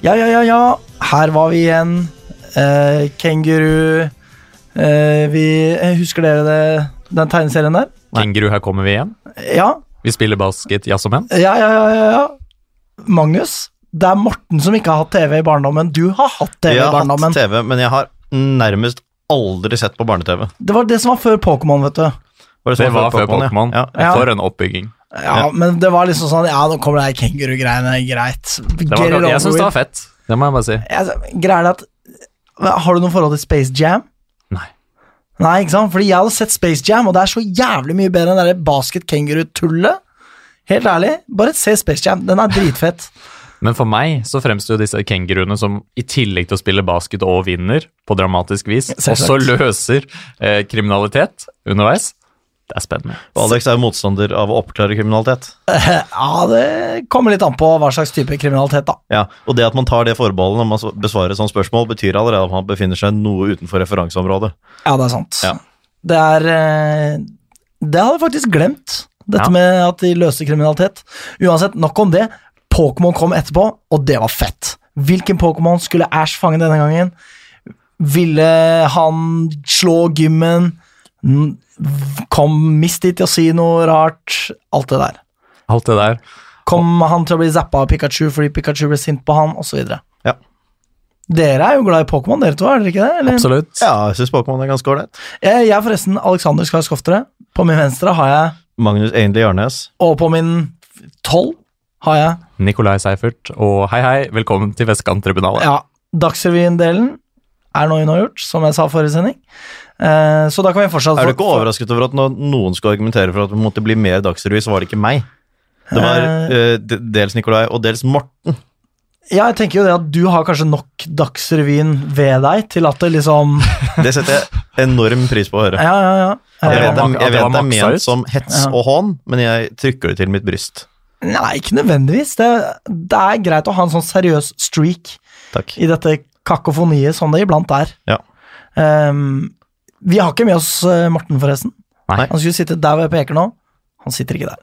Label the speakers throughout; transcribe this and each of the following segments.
Speaker 1: Ja, ja, ja, ja. Her var vi igjen. Eh, Kenguru. Eh, vi eh, Husker dere det, den tegneserien der?
Speaker 2: Kenguru, her kommer vi igjen.
Speaker 1: Ja.
Speaker 2: Vi spiller basket, jazz og menn.
Speaker 1: Ja, ja, ja, ja, ja. Magnus, det er Morten som ikke har hatt TV i barndommen. Du har hatt TV
Speaker 3: Jeg
Speaker 1: i
Speaker 3: har hatt
Speaker 1: barndommen.
Speaker 3: TV, men jeg har nærmest aldri sett på barne-TV.
Speaker 1: Det var det som var før Pokémon, vet du.
Speaker 3: Var
Speaker 2: Det
Speaker 3: sånn
Speaker 2: var før Pokémon.
Speaker 3: Ja. Ja.
Speaker 1: Ja.
Speaker 2: For en oppbygging.
Speaker 1: Ja, men det var liksom sånn Ja, nå kommer det her kengurugreiene, greit.
Speaker 2: Det
Speaker 1: Get
Speaker 2: var,
Speaker 1: it over
Speaker 2: jeg syns det var
Speaker 1: with.
Speaker 2: fett. Det må jeg bare si.
Speaker 1: Jeg- Greia Altså, er at Har du noe forhold til Space Jam?
Speaker 2: Nei.
Speaker 1: Nei, ikke sant? Fordi jeg hadde sett Space Jam, og det er så jævlig mye bedre enn det der basket-kenguru-tullet. Helt ærlig, bare se Space Jam. Den er dritfett.
Speaker 2: Men for meg så fremstår jo disse kenguruene som i tillegg til å spille basket og vinner på dramatisk vis,
Speaker 1: Selvsagt.
Speaker 2: også løser eh, kriminalitet underveis. Det er spennende.
Speaker 3: Og Alex er jo motstander av å oppklare kriminalitet.
Speaker 1: Ja, det kommer litt an på hva slags type kriminalitet, da.
Speaker 3: Ja, Og det at man tar det forbeholdet når man s- besvarer et sånt spørsmål, betyr allerede at man befinner seg noe utenfor referanseområdet.
Speaker 1: Ja, det er sant.
Speaker 3: Ja.
Speaker 1: Det er eh, Det hadde jeg faktisk glemt, dette
Speaker 2: Ja.
Speaker 1: med at de løste kriminalitet. Uansett, nok om det. Pokémon kom etterpå, og det var fett. Hvilken Pokémon skulle Ash fange denne gangen? Ville han slå gymmen? N- Kom Misty til å si noe rart? Alt det der.
Speaker 2: Alt det der.
Speaker 1: Kom han til å bli zappa av Pikachu fordi Pikachu ble sint på han, osv.
Speaker 3: Ja.
Speaker 1: Dere er jo glad i Pokémon, dere to, er dere ikke det? eller?
Speaker 2: Absolutt.
Speaker 3: Ja, jeg syns Pokémon er ganske ålreit.
Speaker 1: Jeg, Eh, jeg er forresten Alexander Skar Skoftere. På min venstre har jeg
Speaker 3: Magnus Einli Jarnes.
Speaker 1: Og på min tolv har jeg
Speaker 2: Nikolai Seifert, og hei, hei, velkommen til Vestkanttribunalet.
Speaker 1: ja, Dagsrevyen-delen er nå unnagjort, som jeg sa forrige sending. Eh, så da kan vi fortsatt
Speaker 3: Er du ikke overrasket over at når noen skal argumentere for at det måtte bli mer Dagsrevy, så var det ikke meg? Det var eh, d- dels Nikolai og dels Morten.
Speaker 1: Ja, jeg tenker jo det at du har kanskje nok Dagsrevyen ved deg til at det liksom
Speaker 3: Det setter jeg enorm pris på å høre.
Speaker 1: Ja, ja, ja. Eh,
Speaker 3: Jeg vet, det,
Speaker 2: At
Speaker 3: jeg
Speaker 2: det var
Speaker 3: vet det er
Speaker 2: maksa ut?
Speaker 3: ment som hets
Speaker 1: Ja.
Speaker 3: og hån, men jeg trykker det til mitt bryst.
Speaker 1: Eh, nei, ikke nødvendigvis. Det, det er greit å ha en sånn seriøs streak
Speaker 3: Takk.
Speaker 1: i dette kakofoniet som det iblant er.
Speaker 3: Ja.
Speaker 1: Ehm, vi har ikke med oss eh, Morten, forresten.
Speaker 2: Nei.
Speaker 1: Han skulle sitte der hvor jeg peker nå. Han sitter ikke der.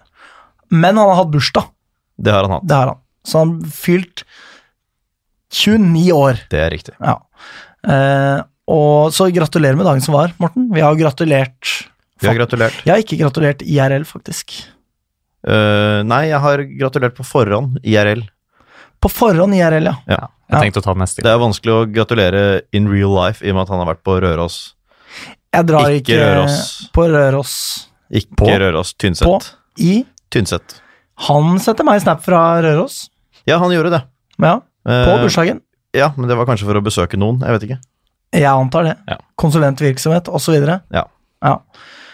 Speaker 1: Men han har hatt bursdag,
Speaker 3: Det har han hatt.
Speaker 1: det har han. Så han fylt 29 år.
Speaker 3: Det er riktig.
Speaker 1: Ja. Eh, og så gratulerer med dagen som var, Morten. Vi har jo gratulert
Speaker 3: Vi har gratulert.
Speaker 1: Jeg har ikke gratulert IRL, faktisk.
Speaker 3: Eh, nei, jeg har gratulert på forhånd, IRL.
Speaker 1: På forhånd IRL, ja.
Speaker 3: Ja.
Speaker 1: Ja.
Speaker 2: Jeg tenkte å ta den neste
Speaker 3: Det er vanskelig å gratulere in real life i og med at han har vært på Røros.
Speaker 1: Jeg drar
Speaker 3: Ikke
Speaker 1: ikke,
Speaker 3: Røros.
Speaker 1: på Røros
Speaker 3: Ikke
Speaker 2: På?
Speaker 3: Røros,
Speaker 1: på
Speaker 3: Tynset.
Speaker 1: I.
Speaker 3: Tynset.
Speaker 1: Han sendte meg snap fra Røros.
Speaker 3: Ja, han gjorde det.
Speaker 1: Ja, på
Speaker 3: Eh,
Speaker 1: bursdagen.
Speaker 3: Ja, men det var kanskje for å besøke noen. Jeg vet ikke.
Speaker 1: Jeg antar det.
Speaker 3: Ja.
Speaker 1: Konsulentvirksomhet osv.
Speaker 3: Ja.
Speaker 1: Ja.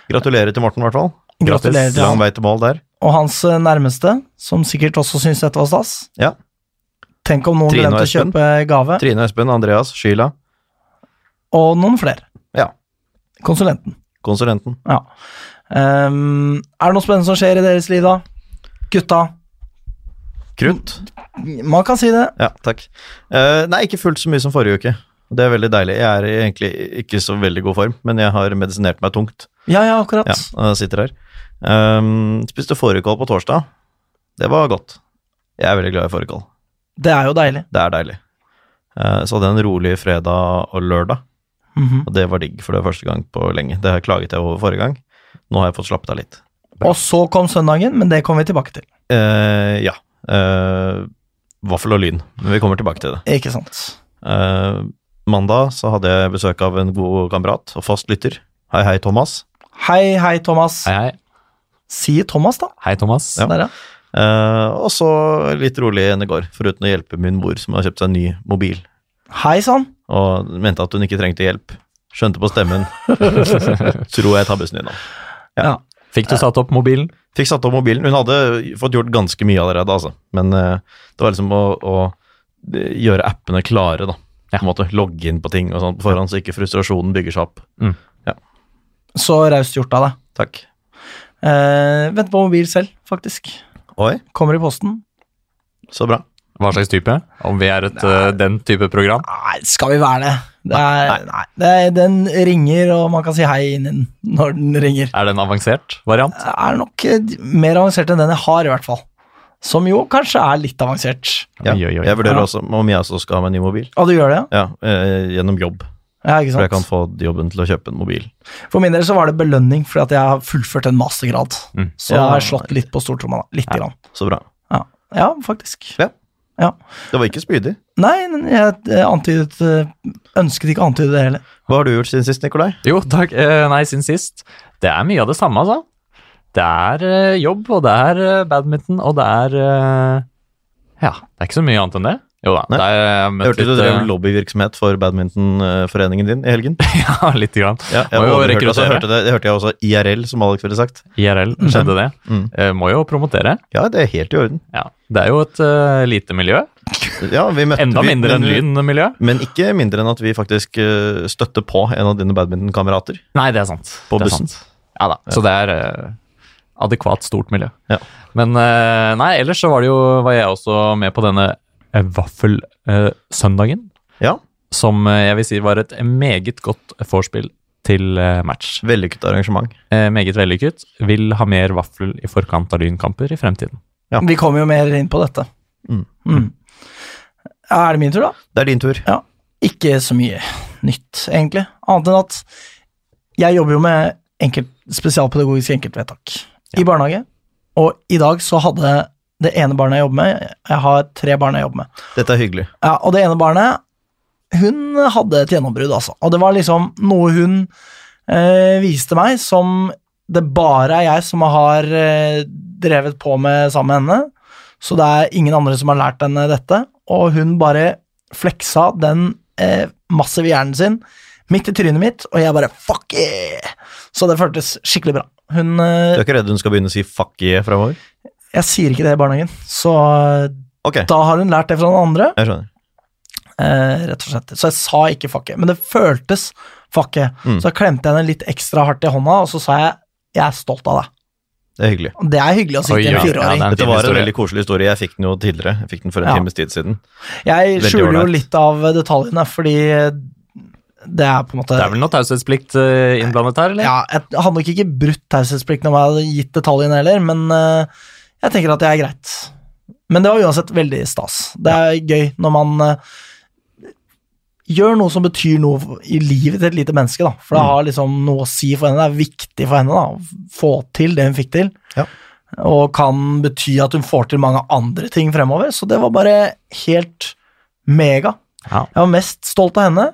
Speaker 3: Gratulerer til Morten, i hvert fall.
Speaker 1: Gratulerer til
Speaker 3: Lang
Speaker 1: han.
Speaker 3: vei til mål der.
Speaker 1: Og hans eh, nærmeste, som sikkert også syns dette var stas.
Speaker 3: Ja.
Speaker 1: Tenk om noen
Speaker 3: Trine og
Speaker 1: glemte å
Speaker 3: Espen.
Speaker 1: kjøpe gave,
Speaker 3: Trine Espen, Andreas, Sheila.
Speaker 1: og noen flere.
Speaker 3: Ja.
Speaker 1: Konsulenten.
Speaker 3: Konsulenten.
Speaker 1: Ja. Ehm, er det noe spennende som skjer i deres liv, da? Gutta?
Speaker 3: Krutt.
Speaker 1: Man kan si det.
Speaker 3: Ja, takk. Eh, nei, ikke fullt så mye som forrige uke. Det er veldig deilig. Jeg er i egentlig ikke så veldig god form, men jeg har medisinert meg tungt.
Speaker 1: Ja, ja, akkurat.
Speaker 3: Ja, og jeg sitter her. Um, spiste fårikål på torsdag. Det var godt. Jeg er veldig glad i fårikål.
Speaker 1: Det er jo deilig.
Speaker 3: Det er deilig. Eh, så hadde jeg en rolig fredag og lørdag,
Speaker 1: Mhm.
Speaker 3: og det var digg, for det var første gang på lenge. Det her klaget jeg over forrige gang. Nå har jeg fått slappet av litt.
Speaker 1: Og så kom søndagen, men det kommer vi tilbake til.
Speaker 3: Eh, ja. Eh, vaffel og lyn. Men vi kommer tilbake til det.
Speaker 1: Ikke sant?
Speaker 3: Eh, mandag så hadde jeg besøk av en god kamerat og fast lytter. Hei, hei, Thomas.
Speaker 1: Hei, hei, Thomas.
Speaker 2: Hei, hei.
Speaker 1: Si Thomas, da. Sånn
Speaker 2: Hei, Thomas.
Speaker 3: Ja.
Speaker 1: Der, ja.
Speaker 3: Eh, og så litt rolig enn i går, foruten å hjelpe min mor, som har kjøpt seg en ny mobil.
Speaker 1: Hei sann.
Speaker 3: og mente at hun ikke trengte hjelp. Skjønte på stemmen. Tror jeg tar bussen innom.
Speaker 2: Fikk du satt opp mobilen?
Speaker 3: Fikk satt opp mobilen. Hun hadde fått gjort ganske mye allerede, altså. Men eh, det var liksom å, å gjøre appene klare, da. På en måte, Logge inn på ting og sånn på forhånd, så ikke frustrasjonen bygger seg opp.
Speaker 1: Så raust gjort av deg.
Speaker 3: Takk.
Speaker 1: Eh, vent på mobil selv, faktisk.
Speaker 3: Oi,
Speaker 1: Kommer i posten.
Speaker 3: så bra.
Speaker 2: Hva slags type? Om vi er et eh, den type program?
Speaker 1: Nei, skal vi være det? det er, nei, Det er, den ringer, og man kan si hei inn i den når den ringer.
Speaker 2: Er det en avansert variant?
Speaker 1: Det er nok eh, mer avansert enn den jeg har, i hvert fall. som jo kanskje er litt avansert.
Speaker 3: Ja.
Speaker 2: Oi, oi, oi.
Speaker 3: Jeg vurderer
Speaker 1: Ja.
Speaker 3: også om jeg også skal ha meg en ny mobil.
Speaker 1: Og du gjør det,
Speaker 3: Ja, eh, gjennom jobb.
Speaker 1: ja? ikke
Speaker 3: For jeg kan
Speaker 1: sant?
Speaker 3: få jobben til å kjøpe en mobil.
Speaker 1: For min del så var det belønning fordi at jeg har fullført en mastergrad.
Speaker 2: Mm.
Speaker 1: Så jeg har slått litt på stortromma, da. Lite grann.
Speaker 3: Så bra.
Speaker 1: Ja. ja, faktisk.
Speaker 3: Ja.
Speaker 1: Ja.
Speaker 3: Det var ikke spydig.
Speaker 1: Nei, men jeg eh, antydet eh, Ønsket ikke å antyde det heller.
Speaker 3: Hva har du gjort siden sist, Nikolai?
Speaker 2: Jo, takk. Eh, nei, siden sist. Det er mye av det samme, altså. Det er eh, jobb, og det er eh, badminton, og det er eh, Ja, det er ikke så mye annet enn det. Jo da.
Speaker 3: Nei.
Speaker 2: Det er, jeg har
Speaker 3: Jeg
Speaker 2: møtt
Speaker 3: hørte du
Speaker 2: litt,
Speaker 3: drev
Speaker 2: eh,
Speaker 3: lobbyvirksomhet for badmintonforeningen din i helgen.
Speaker 2: ja, litt grann.
Speaker 3: Ja, jeg,
Speaker 2: Må jo
Speaker 3: overhørte- altså, jeg
Speaker 2: rekruttere.
Speaker 3: hørte det, det hørte jeg også IRL, som Alex ville sagt.
Speaker 2: IRL, skjedde det.
Speaker 3: Mm.
Speaker 2: Eh, må jo promotere.
Speaker 3: Ja, det er helt i orden.
Speaker 2: Ja. Det er jo et eh, lite miljø.
Speaker 3: Ja, vi møtte,
Speaker 2: Enda
Speaker 3: vi-
Speaker 2: mindre enn
Speaker 3: men-
Speaker 2: Lyn-miljø.
Speaker 3: Men ikke mindre enn at vi faktisk eh, støtter på en av dine badmintonkamerater.
Speaker 2: Nei, det er sant.
Speaker 3: På
Speaker 2: det er
Speaker 3: bussen.
Speaker 2: Sant. Ja da. Så det er eh, adekvat stort miljø.
Speaker 3: Ja.
Speaker 2: Men eh, nei, ellers så var det jo Var jeg også med på denne eh, vaffelsøndagen.
Speaker 3: Ja,
Speaker 2: som eh, jeg vil si var et meget godt vorspiel til eh, match.
Speaker 3: vellykket arrangement.
Speaker 2: Eh, Meget vellykket. Vil ha mer vaffel i forkant av lynkamper i fremtiden.
Speaker 3: Ja.
Speaker 1: Vi kommer jo mer inn på dette.
Speaker 3: Mm.
Speaker 1: Mm. Ja, Er det min tur, da?
Speaker 3: Det er din tur.
Speaker 1: Ikke så mye nytt, egentlig. Annet enn at jeg jobber jo med enkelt, spesialpedagogiske enkeltvedtak i barnehage. Og i dag så hadde det ene barnet jeg jobber med Jeg har tre barn jeg jobber med.
Speaker 3: Dette er hyggelig.
Speaker 1: Ja, og det ene barnet, hun hadde et gjennombrudd, altså. Og det var liksom noe hun eh, viste meg som det bare er jeg som har eh, drevet på med sammen med henne. Så det er ingen andre som har lært henne dette. Og hun bare fleksa den eh, massive hjernen sin midt i trynet mitt, og jeg bare fuck yeah! Så det føltes skikkelig bra. Hun
Speaker 3: Du
Speaker 1: eh,
Speaker 3: er ikke redd hun skal begynne å si 'fuck yeah' framover?
Speaker 1: Jeg sier ikke det i barnehagen, så eh,
Speaker 3: Ok, jeg
Speaker 1: da har hun lært det fra noen andre.
Speaker 3: skjønner.
Speaker 1: Eh, rett og slett. Så jeg sa ikke fakke, men det føltes fakke.
Speaker 3: Mm.
Speaker 1: Så jeg klemte henne litt ekstra hardt i hånda, og så sa jeg 'jeg er stolt av deg'.
Speaker 3: Det er hyggelig.
Speaker 1: Og Det er hyggelig å si
Speaker 2: Oi,
Speaker 1: til en
Speaker 2: ja,
Speaker 1: fireåring.
Speaker 2: ja, det er en
Speaker 3: Dette
Speaker 2: fin
Speaker 3: var en
Speaker 2: historie.
Speaker 3: veldig koselig historie. Jeg fikk den jo tidligere. Jeg fikk den for en
Speaker 1: Ja.
Speaker 3: times tid siden.
Speaker 1: jeg
Speaker 3: veldig
Speaker 1: skjuler jo
Speaker 3: ålreit.
Speaker 1: litt av detaljene, fordi det er på en måte
Speaker 2: Det er vel noe taushetsplikt eh, innblandet her, eller?
Speaker 1: ja, Jeg hadde nok ikke brutt taushetsplikten om jeg hadde gitt detaljene heller, men eh, jeg tenker at det er greit. Men det var uansett veldig stas. Det er gøy når man eh, gjør noe som betyr noe i livet til et lite menneske, da.
Speaker 2: Mm.
Speaker 1: For det har liksom noe å si for henne. Det er viktig for henne da, å få til det hun fikk til.
Speaker 3: Ja.
Speaker 1: Og kan bety at hun får til mange andre ting fremover. Så det var bare helt mega.
Speaker 2: Ja.
Speaker 1: Jeg var mest stolt av henne,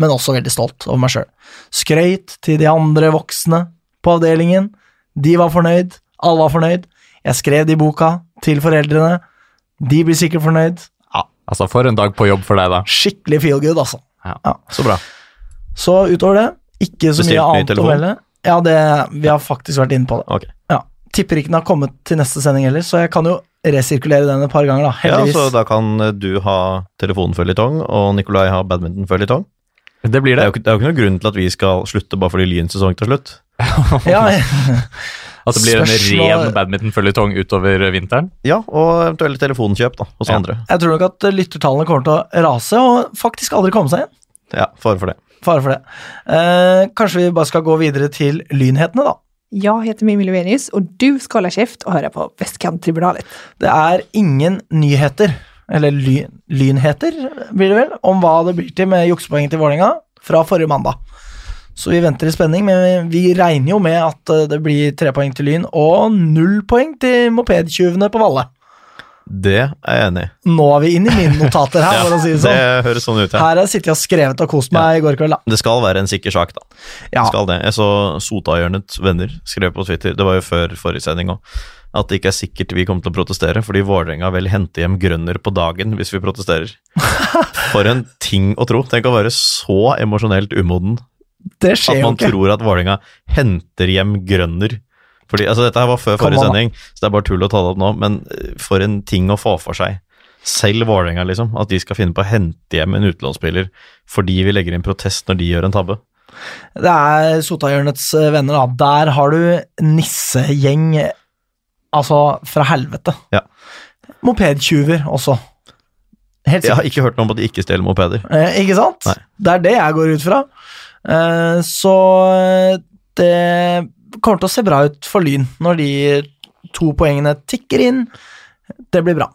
Speaker 1: men også veldig stolt over meg sjøl. Skrøyt til de andre voksne på avdelingen. De var fornøyd. Alle var fornøyd. Jeg skrev det i boka til foreldrene. De blir sikkert fornøyd.
Speaker 2: Altså, for en dag på jobb for deg, da.
Speaker 1: Skikkelig feel good, altså.
Speaker 3: Så bra.
Speaker 1: Så utover det, ikke så
Speaker 3: Bestilt
Speaker 1: mye
Speaker 3: ny
Speaker 1: annet å
Speaker 3: telefon?
Speaker 1: melde. Ja, det, vi har faktisk vært inne på det.
Speaker 3: Ok.
Speaker 1: Ja. Tipper ikke den har kommet til neste sending heller, så jeg kan jo resirkulere den et par ganger, da.
Speaker 3: Ja,
Speaker 1: Heldigvis.
Speaker 3: så da kan eh, du ha telefonføljetong, og Nikolai ha badmintonføljetong.
Speaker 2: Det blir
Speaker 3: Det, er
Speaker 2: det.
Speaker 3: jo ikke- det er jo ikke noen grunn til at vi skal slutte bare fordi Lyns sesong tar slutt.
Speaker 1: ja,
Speaker 2: At det Altså, blir en
Speaker 1: Spørsmål-
Speaker 2: ren badmintonføljetong utover vinteren.
Speaker 3: Ja, og eventuelle telefonkjøp da, hos
Speaker 2: Ja.
Speaker 3: andre.
Speaker 1: jeg tror nok at lyttertallene kommer til å rase, og faktisk aldri komme seg igjen.
Speaker 3: Ja, fare for det.
Speaker 1: Fare for det. Eh, kanskje vi bare skal gå videre til lynhetene, da.
Speaker 4: Jeg heter Mimmi Lovenius, og du skal holde kjeft og høre på Vestkanttribunalet.
Speaker 1: Det er ingen nyheter, eller ly, lynheter blir det vel, om hva det blir til med juksepoenget til Vålerenga fra forrige mandag. Så vi venter i spenning, men vi regner jo med at eh, det blir tre poeng til Lyn og null poeng til mopedtyvene på Valle.
Speaker 3: Det er jeg enig i.
Speaker 1: Nå er vi inne i mine notater her, for å si det sånn.
Speaker 3: Det høres sånn ut, ja.
Speaker 1: Her har jeg sittet og skrevet og kost meg i går kveld, da.
Speaker 3: Det skal være en sikker sak, da.
Speaker 1: Ja.
Speaker 3: Skal det. Jeg så Sotahjørnets venner skrev på Twitter, det var jo før forrige sending òg, at det ikke er sikkert vi kommer til å protestere, fordi Vålerenga vil hente hjem grønner på dagen hvis vi protesterer. For en ting å tro. Tenk å være så emosjonelt umoden
Speaker 1: Det
Speaker 3: at
Speaker 1: skjer jo
Speaker 3: man
Speaker 1: ikke.
Speaker 3: tror at Vålerenga henter hjem grønner. Fordi, altså Dette her var før
Speaker 1: Kom
Speaker 3: forrige
Speaker 1: an, da.
Speaker 3: sending, så det er bare tull å ta det opp nå, men eh, for en ting å få for seg. Selv Vålerenga, liksom. At de skal finne på å hente hjem en utenlandsspiller fordi vi legger inn protest når de gjør en tabbe.
Speaker 1: Det er Sotahjørnets eh, venner, da. Der har du nissegjeng, eh, altså fra helvete.
Speaker 3: Ja.
Speaker 1: Mopedtyver også. Helt
Speaker 3: Jeg
Speaker 1: sikkert.
Speaker 3: har ikke hørt noe om at de ikke stjeler mopeder.
Speaker 1: Eh, ikke sant?
Speaker 3: Nei.
Speaker 1: Det er det jeg går ut fra. Eh, så eh, det kommer til å se bra ut for Lyn når de to poengene tikker inn. Det blir bra.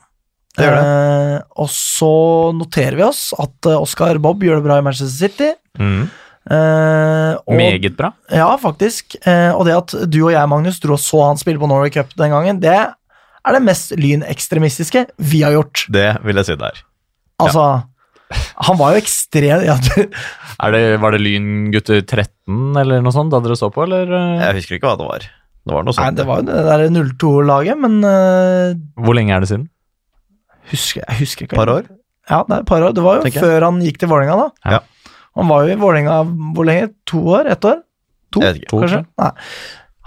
Speaker 3: Det gjør
Speaker 1: Eh, og så noterer vi oss at eh, Oscar Bob gjør det bra i Manchester City.
Speaker 2: Mm.
Speaker 1: Eh, og,
Speaker 2: Meget bra.
Speaker 1: Ja, faktisk. Eh, og det at du og jeg, Magnus, dro og så han spille på Norway Cup den gangen, det er det mest lynekstremistiske vi har gjort.
Speaker 3: Det vil jeg si det er.
Speaker 1: Altså Han var jo ekstrem ja, du,
Speaker 2: Er det, var det Lyn gutter 13 eller noe sånt da dere så på, eller? eh,
Speaker 3: Jeg husker ikke hva det var. Det var noe
Speaker 1: Nei,
Speaker 3: sånt.
Speaker 1: det var jo det der 0-2-laget, men eh,
Speaker 2: Hvor lenge er det siden?
Speaker 1: husker, jeg husker ikke.
Speaker 3: Et par år.
Speaker 1: Ja, det er et par år. Det var jo
Speaker 3: Tenker jeg.
Speaker 1: før han gikk til Vålerenga, da.
Speaker 2: Ja.
Speaker 1: Han var jo i Vålerenga hvor lenge? To år? Ett år? To,
Speaker 3: Jeg vet ikke.
Speaker 2: To,
Speaker 1: kanskje? Nei.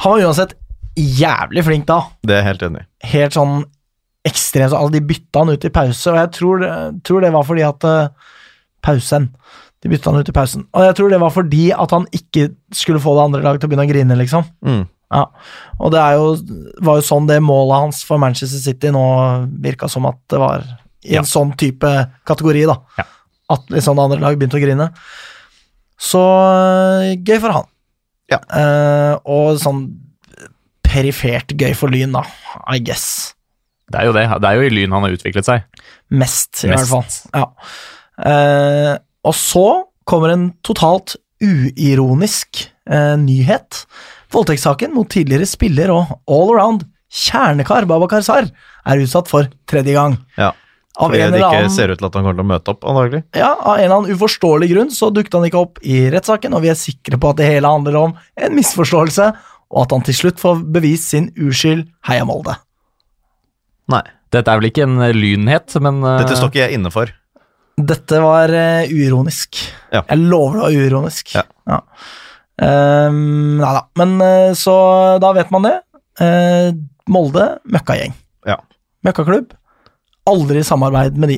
Speaker 1: Han var uansett jævlig flink da.
Speaker 3: Det er jeg helt enig i.
Speaker 1: Helt sånn ekstremt. så Alle de bytta han ut i pause, og jeg tror, tror det var fordi at eh, Pausen. De bytta han ut i pausen. Og jeg tror det var fordi at han ikke skulle få det andre laget til å begynne å grine, liksom.
Speaker 3: Mm.
Speaker 1: Ja, og det er jo, var jo sånn det målet hans for Manchester City nå virka som at det var i en
Speaker 2: Ja.
Speaker 1: sånn type kategori, da.
Speaker 2: Ja.
Speaker 1: At liksom det andre lag begynte å grine. Så øh, gøy for han.
Speaker 3: Ja.
Speaker 1: Eh, og sånn perifert gøy for Lyn, da. I guess.
Speaker 2: Det er jo det. Det er jo i Lyn han har utviklet seg.
Speaker 1: Mest, i
Speaker 2: Mest.
Speaker 1: hvert fall. Ja. Eh, og så kommer en totalt uironisk eh, nyhet. Voldtektssaken mot tidligere spiller og all around kjernekar Babakar Sar er utsatt for tredje gang.
Speaker 3: Ja.
Speaker 1: Av
Speaker 3: Fordi
Speaker 1: en,
Speaker 3: det
Speaker 1: eller
Speaker 3: ikke
Speaker 1: annen,
Speaker 3: ser ut til at han kommer til å møte opp, antagelig.
Speaker 1: ja, av en eller annen uforståelig grunn så dukket han ikke opp i rettssaken, og vi er sikre på at det hele handler om en misforståelse, og at han til slutt får bevist sin uskyld. Heia Molde.
Speaker 3: Nei.
Speaker 2: Dette er vel ikke en eh, lynhet, men eh,
Speaker 3: Dette står ikke jeg inne for.
Speaker 1: Dette var eh, uironisk.
Speaker 3: Ja.
Speaker 1: Jeg lover det var uironisk.
Speaker 3: Ja.
Speaker 1: Ehm, nei da. Men eh, så da vet man det. Eh, Molde, møkkagjeng.
Speaker 3: Ja.
Speaker 1: Møkkaklubb. Aldri samarbeid med de.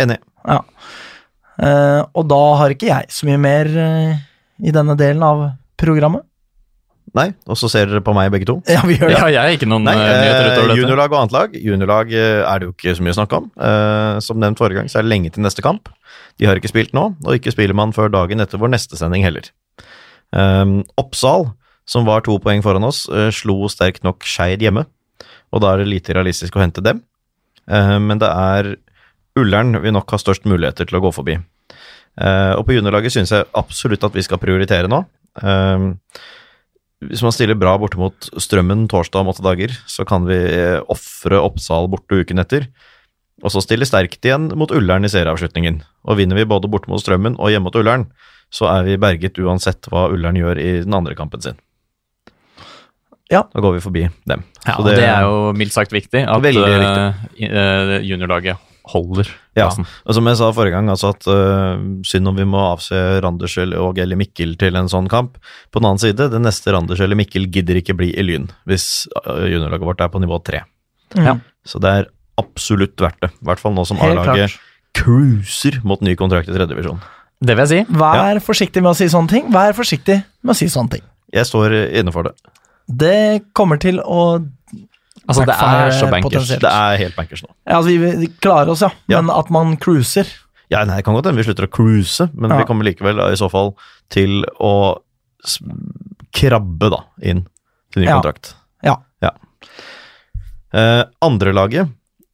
Speaker 3: Enig.
Speaker 1: Eh, og da har ikke jeg så mye mer eh, i denne delen av programmet.
Speaker 3: Nei. Og så ser dere på meg, begge to.
Speaker 1: Ja, vi gjør det.
Speaker 2: Ja, jeg har ikke noen
Speaker 3: Nei,
Speaker 2: eh, nyheter
Speaker 3: eh,
Speaker 2: utover dette.
Speaker 3: juniorlag og annet lag. Juniorlag eh, er det jo ikke så mye å snakke om. Eh, som nevnt forrige gang, så er det lenge til neste kamp. De har ikke spilt nå, og ikke spiller man før dagen etter vår neste sending heller. Eh, Oppsal, som var to poeng foran oss, eh, slo sterkt nok Skeid hjemme, og da er det lite realistisk å hente dem. Eh, men det er Ullern vi nok har størst muligheter til å gå forbi. Eh, og på juniorlaget syns jeg absolutt at vi skal prioritere nå. Eh, hvis man stiller bra borte mot Strømmen torsdag om åtte dager, så kan vi eh, ofre Oppsal borte uken etter. Og så stille sterkt igjen mot Ullern i serieavslutningen. Og vinner vi både borte mot Strømmen og hjemme mot Ullern, så er vi berget uansett hva Ullern gjør i den andre kampen sin.
Speaker 1: Ja.
Speaker 3: Da går vi forbi dem.
Speaker 2: Ja,
Speaker 3: Så
Speaker 2: og det, er jo mildt sagt viktig at
Speaker 3: Veldig
Speaker 2: eh, i- eh, juniorlaget holder
Speaker 3: Ja.
Speaker 2: plassen.
Speaker 3: Og som jeg sa forrige gang, altså at øh, synd om vi må avse Randers og eller Mikkel til en sånn kamp. På den annen side, den neste Randers eller Mikkel gidder ikke bli i Lyn hvis øh, juniorlaget vårt er på nivå tre.
Speaker 1: Mm.
Speaker 2: Ja.
Speaker 3: Så det er absolutt verdt det. I hvert fall nå som
Speaker 1: Helt
Speaker 3: A-laget
Speaker 1: klart.
Speaker 3: cruiser mot ny kontrakt i tredje divisjon.
Speaker 2: Det vil jeg si.
Speaker 1: Vær forsiktig med å si sånne ting. Vær forsiktig med å si sånne ting.
Speaker 3: Jeg står eh, inne for det.
Speaker 1: Det kommer til å
Speaker 2: Altså, det
Speaker 1: Hvertfall
Speaker 2: er så
Speaker 1: er
Speaker 2: bankers.
Speaker 1: potensielt.
Speaker 3: Det er helt bankers nå.
Speaker 1: Ja, altså, vi- vi klarer oss, ja.
Speaker 3: Ja.
Speaker 1: Men at man cruiser
Speaker 3: Ja, nei, det kan godt hende vi slutter å cruise, men
Speaker 1: Ja.
Speaker 3: vi kommer likevel eh, i så fall til å s- krabbe da inn til ny
Speaker 1: Ja.
Speaker 3: kontrakt.
Speaker 1: Ja.
Speaker 3: ja. Eh, andre laget,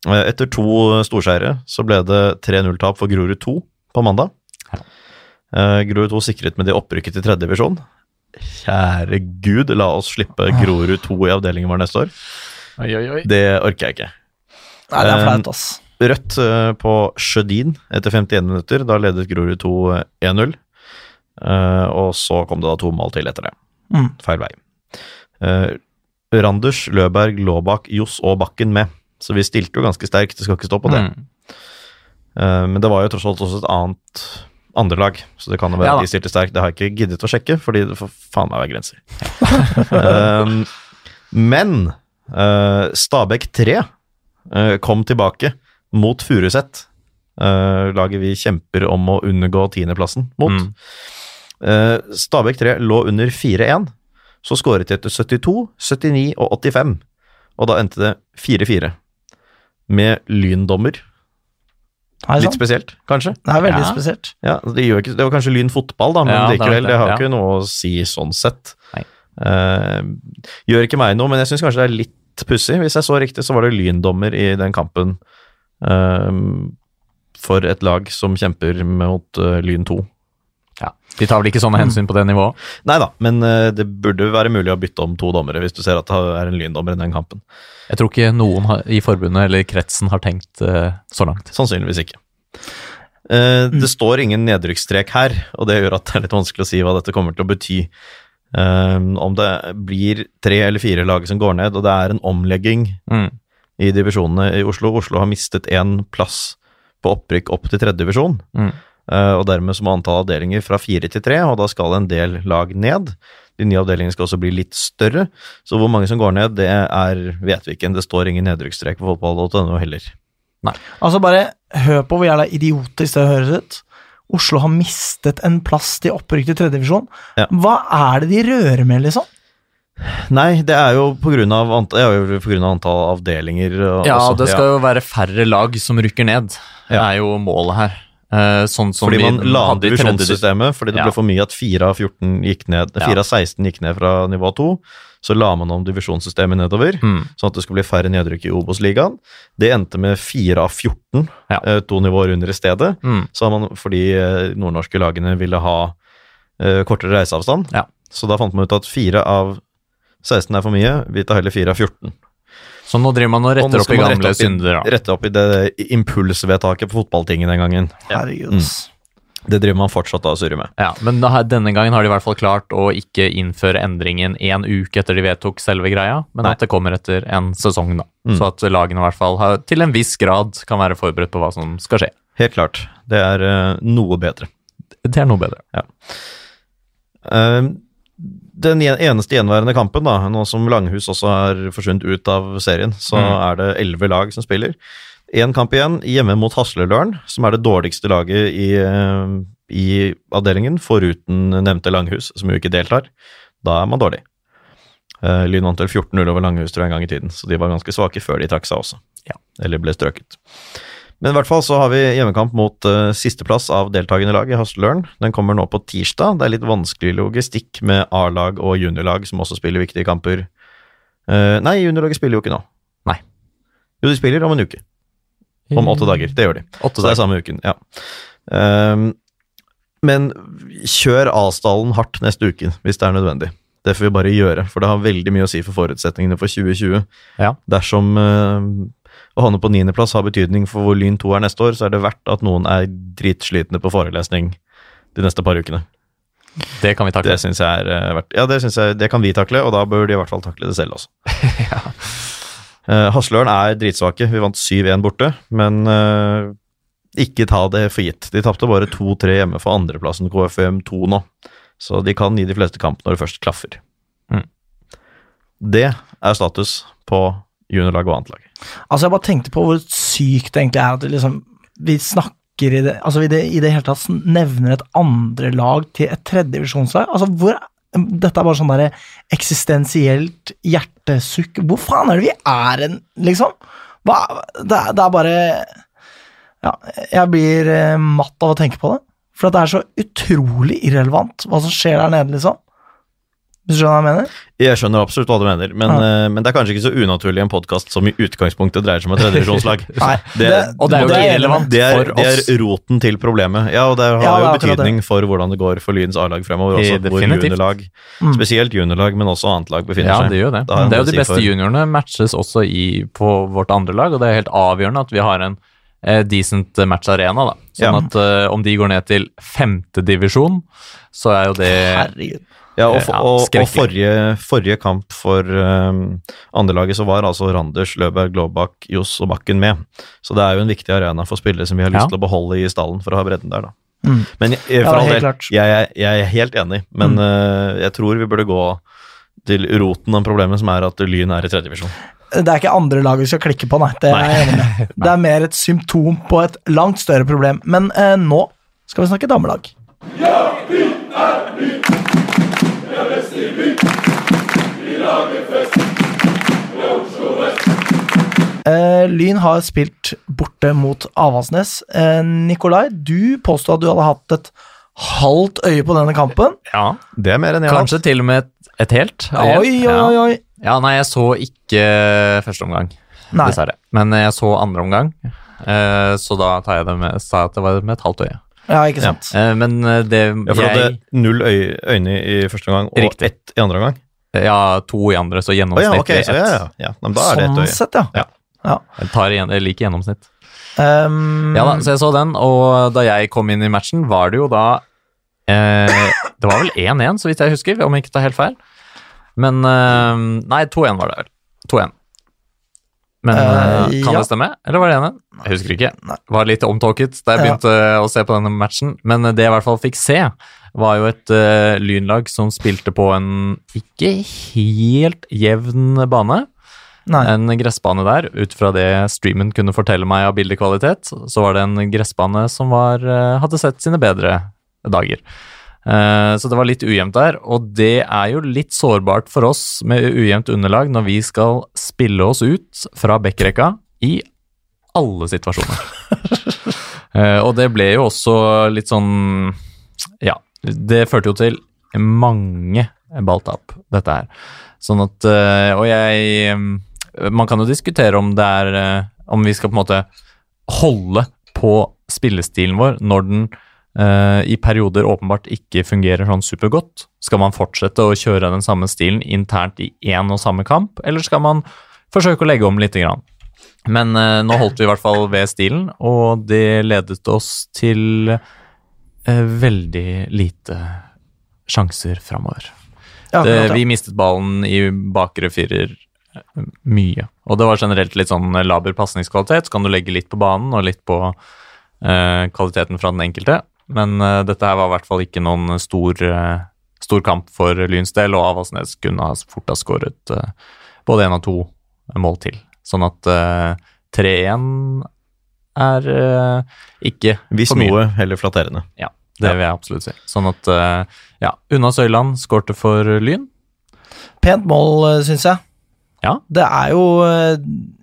Speaker 3: eh, etter to storseire, så ble det 3-0-tap for Grorud 2 på mandag. Eh, Grorud 2 sikret med det opprykket til tredje divisjon. Kjære gud, la oss slippe
Speaker 1: Ah.
Speaker 3: Grorud 2 i avdelingen vår neste år.
Speaker 2: Oi, oi, oi.
Speaker 3: Det orker jeg ikke.
Speaker 1: Nei, det er
Speaker 3: Eh,
Speaker 1: flaut, ass.
Speaker 3: Rødt eh, på Sjødin etter 51 minutter. Da ledet Grorud 2 1-0. Eh, og så kom det da to mål til etter det.
Speaker 1: Mm.
Speaker 3: Feil vei. Eh, Randers, Løberg, Laabak, Johs og Bakken med. Så vi stilte jo ganske sterkt, det skal ikke stå på det.
Speaker 2: Mm.
Speaker 3: Eh, men det var jo tross alt også et annet andrelag, så det kan jo
Speaker 2: Ja
Speaker 3: være
Speaker 2: da.
Speaker 3: at de stilte sterkt. Det har jeg ikke giddet å sjekke, fordi det får faen meg være grenser. Eh, men eh, Stabæk 3 eh, kom tilbake mot Furuset. eh, laget vi kjemper om å undergå tiendeplassen mot.
Speaker 2: Mm.
Speaker 3: Eh, Stabæk 3 lå under 4-1, så skåret de etter 72, 79 og 85. Og da endte det 4-4. Med lyndommer.
Speaker 1: Nei, sant?
Speaker 3: Litt spesielt, kanskje.
Speaker 1: Det er veldig
Speaker 2: Ja.
Speaker 1: spesielt.
Speaker 3: Ja, altså, det, gjør ikke, det var kanskje Lyn fotball, da, men
Speaker 2: Ja, det var
Speaker 3: likevel,
Speaker 2: det,
Speaker 3: det har
Speaker 2: ja.
Speaker 3: ikke noe å si sånn sett.
Speaker 2: Nei.
Speaker 3: Eh, gjør ikke meg noe, men jeg syns kanskje det er litt litt pussig. Hvis jeg så riktig, så var det lyndommer i den kampen ehm, for et lag som kjemper mot eh, Lyn 2.
Speaker 2: Ja. De tar vel ikke
Speaker 3: Mm.
Speaker 2: sånne hensyn på det nivået?
Speaker 3: Nei da, men eh, det burde være mulig å bytte om to dommere hvis du ser at det er en lyndommer i den kampen.
Speaker 2: Jeg tror ikke noen har, i forbundet eller kretsen har tenkt eh, så langt.
Speaker 3: Sannsynligvis ikke. Eh, Det står ingen nedrykksstrek her, og det gjør at det er litt vanskelig å si hva dette kommer til å bety. Ehm, om det blir tre eller fire lag som går ned, og det er en omlegging
Speaker 2: Mm.
Speaker 3: i divisjonene i Oslo. Oslo har mistet én plass på opprykk opp til tredje divisjon.
Speaker 2: Mm.
Speaker 3: Eh, og dermed så må antall avdelinger fra fire til tre, og da skal en del lag ned. De nye avdelingene skal også bli litt større, så hvor mange som går ned, det er vet vi ikke. Det står ingen nedrykksstrek på fotball.no heller.
Speaker 1: Altså, bare hør på hvor jævla idiotisk det høres ut. Oslo har mistet en plass til opprykk til tredjedivisjon.
Speaker 3: Ja.
Speaker 1: Hva er det de rører med, liksom?
Speaker 3: Nei, det er jo pga. antall avdelinger. og- altså,
Speaker 2: Ja,
Speaker 3: også.
Speaker 2: det skal jo være færre lag som rykker ned,
Speaker 3: Ja.
Speaker 2: er jo målet her. Eh, sånn som
Speaker 3: Fordi man
Speaker 2: vi
Speaker 3: la om
Speaker 2: hadde i tredje divisjon.
Speaker 3: divisjonssystemet, fordi det
Speaker 2: Ja.
Speaker 3: ble for mye at 4 av 14 gikk ned,
Speaker 2: Ja.
Speaker 3: 4 av 16 gikk ned fra nivå 2. Så la man om divisjonssystemet nedover,
Speaker 2: Mm.
Speaker 3: sånn at det skulle bli færre nedrykk i Obos-ligaen. Det endte med 4 av 14,
Speaker 2: Ja.
Speaker 3: eh, to nivåer under i stedet.
Speaker 2: Mm.
Speaker 3: Så har man, fordi eh, nordnorske lagene ville ha eh, kortere reiseavstand.
Speaker 2: Ja.
Speaker 3: Så da fant man ut at 4 av 16 er for mye, vi tar heller 4 av 14.
Speaker 2: Så nå driver man og
Speaker 3: Og nå
Speaker 2: retter opp
Speaker 3: skal
Speaker 2: i
Speaker 3: man
Speaker 2: gamle
Speaker 3: rette opp i-
Speaker 2: synder. Ja.
Speaker 3: Rette opp i det impulsvedtaket på fotballtinget den gangen.
Speaker 1: Herregud.
Speaker 3: Mm.
Speaker 1: ass.
Speaker 3: Det driver man fortsatt da og surrer med.
Speaker 2: Ja, men da, har- denne gangen har de i hvert fall klart å ikke innføre endringen en uke etter de vedtok selve greia, men
Speaker 3: Nei.
Speaker 2: at det kommer etter en sesong, da.
Speaker 3: Mm.
Speaker 2: Så at lagene i hvert fall har, til en viss grad kan være forberedt på hva som skal skje.
Speaker 3: Helt klart. Det er eh, noe bedre.
Speaker 2: Det er noe bedre.
Speaker 3: Eh, den en- eneste gjenværende kampen, da, nå som Langhus også har forsvunnet ut av serien, så
Speaker 2: Mm.
Speaker 3: er det elleve lag som spiller. Én kamp igjen, hjemme mot Hasleløren, som er det dårligste laget i, eh, i avdelingen, foruten nevnte Langhus, som jo ikke deltar. Da er man dårlig. Eh, Lyn vant vel 14-0 over Langhus tror jeg en gang i tiden, så de var ganske svake før de trakk seg også.
Speaker 2: Ja.
Speaker 3: Eller ble strøket. Men i hvert fall så har vi hjemmekamp mot eh, sisteplass av deltakende lag i Hasseløren. Den kommer nå på tirsdag. Det er litt vanskelig logistikk med A-lag og juniorlag som også spiller viktige kamper. Eh, nei, juniorlaget spiller jo ikke nå.
Speaker 2: Nei.
Speaker 3: Jo, de spiller om en uke. Om åtte dager. Det gjør de.
Speaker 2: Åtte
Speaker 3: Så det er
Speaker 2: dager.
Speaker 3: samme uken, ja. Ehm, men kjør Asdalen hardt neste uke, hvis det er nødvendig. Det får vi bare gjøre, for det har veldig mye å si for forutsetningene for 2020.
Speaker 2: Ja.
Speaker 3: Dersom eh, å havne på niendeplass har betydning for hvor Lyn 2 er neste år, så er det verdt at noen er dritslitne på forelesning de neste par ukene.
Speaker 2: Det kan vi takle.
Speaker 3: Det syns jeg er eh, verdt Ja, det synes jeg det kan vi takle, og da bør de i hvert fall takle det selv også. Eh, Hasløren er dritsvake. Vi vant 7-1 borte, men eh, ikke ta det for gitt. De tapte bare 2-3 hjemme for andreplassen KFM2 nå, så de kan gi de fleste kamp når det først klaffer.
Speaker 2: Mm.
Speaker 3: Det er status på juniorlag og annet lag.
Speaker 1: Altså, jeg bare tenkte på hvor sykt det egentlig er at det liksom, vi snakker i det Altså, vi det, i det hele tatt nevner et andre lag til et tredjedivisjonslag. Altså, hvor Dette er bare sånn derre eksistensielt hjertesukk. Hvor faen er det vi er hen, liksom? Hva, det, er- det er bare Ja, jeg blir eh, matt av å tenke på det. For at det er så utrolig irrelevant hva som skjer der nede, liksom. Hvis du skjønner hva jeg mener?
Speaker 3: Jeg skjønner absolutt hva du mener, men, eh, men det er kanskje ikke så unaturlig i en podkast som i utgangspunktet dreier seg om et tredjevisjonslag.
Speaker 1: Nei,
Speaker 3: Det-
Speaker 2: og det er jo
Speaker 1: det er-
Speaker 2: ikke relevant
Speaker 3: Det er,
Speaker 2: for oss.
Speaker 3: det er roten til problemet. Ja, og det har
Speaker 1: Ja, det er
Speaker 3: jo
Speaker 1: akkurat
Speaker 3: betydning for hvordan det går for Lyns A-lag fremover. Også,
Speaker 2: Eh,
Speaker 3: hvor
Speaker 2: definitivt.
Speaker 3: juniorlag,
Speaker 1: Mm.
Speaker 3: spesielt juniorlag, men også annet lag befinner
Speaker 2: ja,
Speaker 3: seg.
Speaker 2: det gjør det.
Speaker 3: Da
Speaker 2: Det er
Speaker 3: har han
Speaker 2: jo de
Speaker 3: det å si
Speaker 2: beste
Speaker 3: for-
Speaker 2: juniorene matches også i, på vårt andre lag, og det er helt avgjørende at vi har en eh, decent matcharena, da. Sånn
Speaker 3: Ja.
Speaker 2: at eh, om de går ned til femtedivisjon, så er jo det
Speaker 1: Herregud.
Speaker 3: Ja, og, for-
Speaker 2: Ja,
Speaker 3: og, og
Speaker 2: skrekkelig.
Speaker 3: forrige, forrige kamp for um, andrelaget så var altså Randers, Løberg, Glåbakk, Johs og Bakken med. Så det er jo en viktig arena for spillere som vi har
Speaker 2: Ja.
Speaker 3: lyst til å beholde i stallen for å ha bredden der, da.
Speaker 1: Mm.
Speaker 3: Men jeg, jeg,
Speaker 1: Ja,
Speaker 3: for
Speaker 1: helt
Speaker 3: all del,
Speaker 1: klart.
Speaker 3: jeg, jeg, jeg er helt enig,
Speaker 2: Mm.
Speaker 3: men eh, jeg tror vi burde gå til roten av problemet, som er at Lyn er i tredjevisjon.
Speaker 1: Det er ikke andre lag vi skal klikke på, nei. Det er, jeg enig med. det er mer et symptom på et langt større problem. Men eh, nå skal vi snakke damelag. Eh, Lyn har spilt borte mot Avaldsnes. Eh, Nikolai, du påstod at du hadde hatt et halvt øye på denne kampen.
Speaker 2: Ja,
Speaker 3: Det er mer enn jeg har.
Speaker 2: kanskje til og med et, et helt.
Speaker 1: Oi, oi, oi.
Speaker 2: Ja, nei, jeg så ikke første omgang,
Speaker 1: Nei.
Speaker 2: dessverre. Men jeg så andre omgang, eh, så da tar jeg det med, sa jeg at det var med et halvt øye.
Speaker 1: Ja, ikke sant.
Speaker 2: Eh, Men det
Speaker 3: Ja, for du hadde
Speaker 2: jeg,
Speaker 3: null øy øyne i første omgang og
Speaker 2: Riktig.
Speaker 3: ett i andre omgang.
Speaker 2: Ja, to i andre, så
Speaker 3: Å ja,
Speaker 2: gjennomsnittlig
Speaker 3: ok, så ja, ja,
Speaker 2: ett.
Speaker 3: ja. Men da er det ett
Speaker 1: sånn
Speaker 3: øye.
Speaker 1: sett, ja.
Speaker 3: Ja.
Speaker 2: Jeg tar igjen, jeg liker gjennomsnitt.
Speaker 1: Ehm,
Speaker 2: Ja da, så jeg så den, og da jeg kom inn i matchen, var det jo da eh, Det var vel 1-1, så vidt jeg husker, om jeg ikke tar helt feil. Men eh, Nei, 2-1 var det vel. 2-1. Men
Speaker 1: Eh,
Speaker 2: eh, kan
Speaker 1: ja.
Speaker 2: det stemme, eller var det 1-1? Jeg husker ikke.
Speaker 1: Nei.
Speaker 2: Var litt omtåket da jeg
Speaker 1: Ja.
Speaker 2: begynte eh, å se på denne matchen, men eh, det jeg i hvert fall fikk se, var jo et eh, lynlag som spilte på en ikke helt jevn bane
Speaker 1: nei.
Speaker 2: en gressbane der. Ut fra det streamen kunne fortelle meg av bildekvalitet, så var det en gressbane som var, eh, hadde sett sine bedre dager. Eh, Så det var litt ujevnt der, og det er jo litt sårbart for oss med ujevnt underlag når vi skal spille oss ut fra backrekka i alle situasjoner. Eh, Og det ble jo også litt sånn Ja, det førte jo til mange balltap, dette her. Sånn at eh, Og jeg eh, Man kan jo diskutere om det er eh, Om vi skal på en måte holde på spillestilen vår når den eh, i perioder åpenbart ikke fungerer sånn supergodt. Skal man fortsette å kjøre den samme stilen internt i én og samme kamp, eller skal man forsøke å legge om lite grann? Men eh, nå holdt vi i hvert fall ved stilen, og det ledet oss til eh, veldig lite sjanser framover.
Speaker 1: Ja,
Speaker 2: Det,
Speaker 1: akkurat, ja.
Speaker 2: vi mistet ballen i bakre firer eh, mye. Og det var generelt litt sånn laber pasningskvalitet. Så kan du legge litt på banen og litt på eh, kvaliteten fra den enkelte. Men eh, dette her var i hvert fall ikke noen stor, eh, stor kamp for Lyns del, og Avaldsnes kunne ha fort ha skåret eh, både én og to mål til. Sånn at eh, 3-1 er eh, ikke
Speaker 3: Hvis
Speaker 2: for mye.
Speaker 3: noe, heller flatterende.
Speaker 2: Det vil jeg absolutt si. Sånn at, eh, ja, Unna Søyland skårte for Lyn.
Speaker 1: Pent mål, syns jeg.
Speaker 2: Ja.
Speaker 1: Det er jo eh,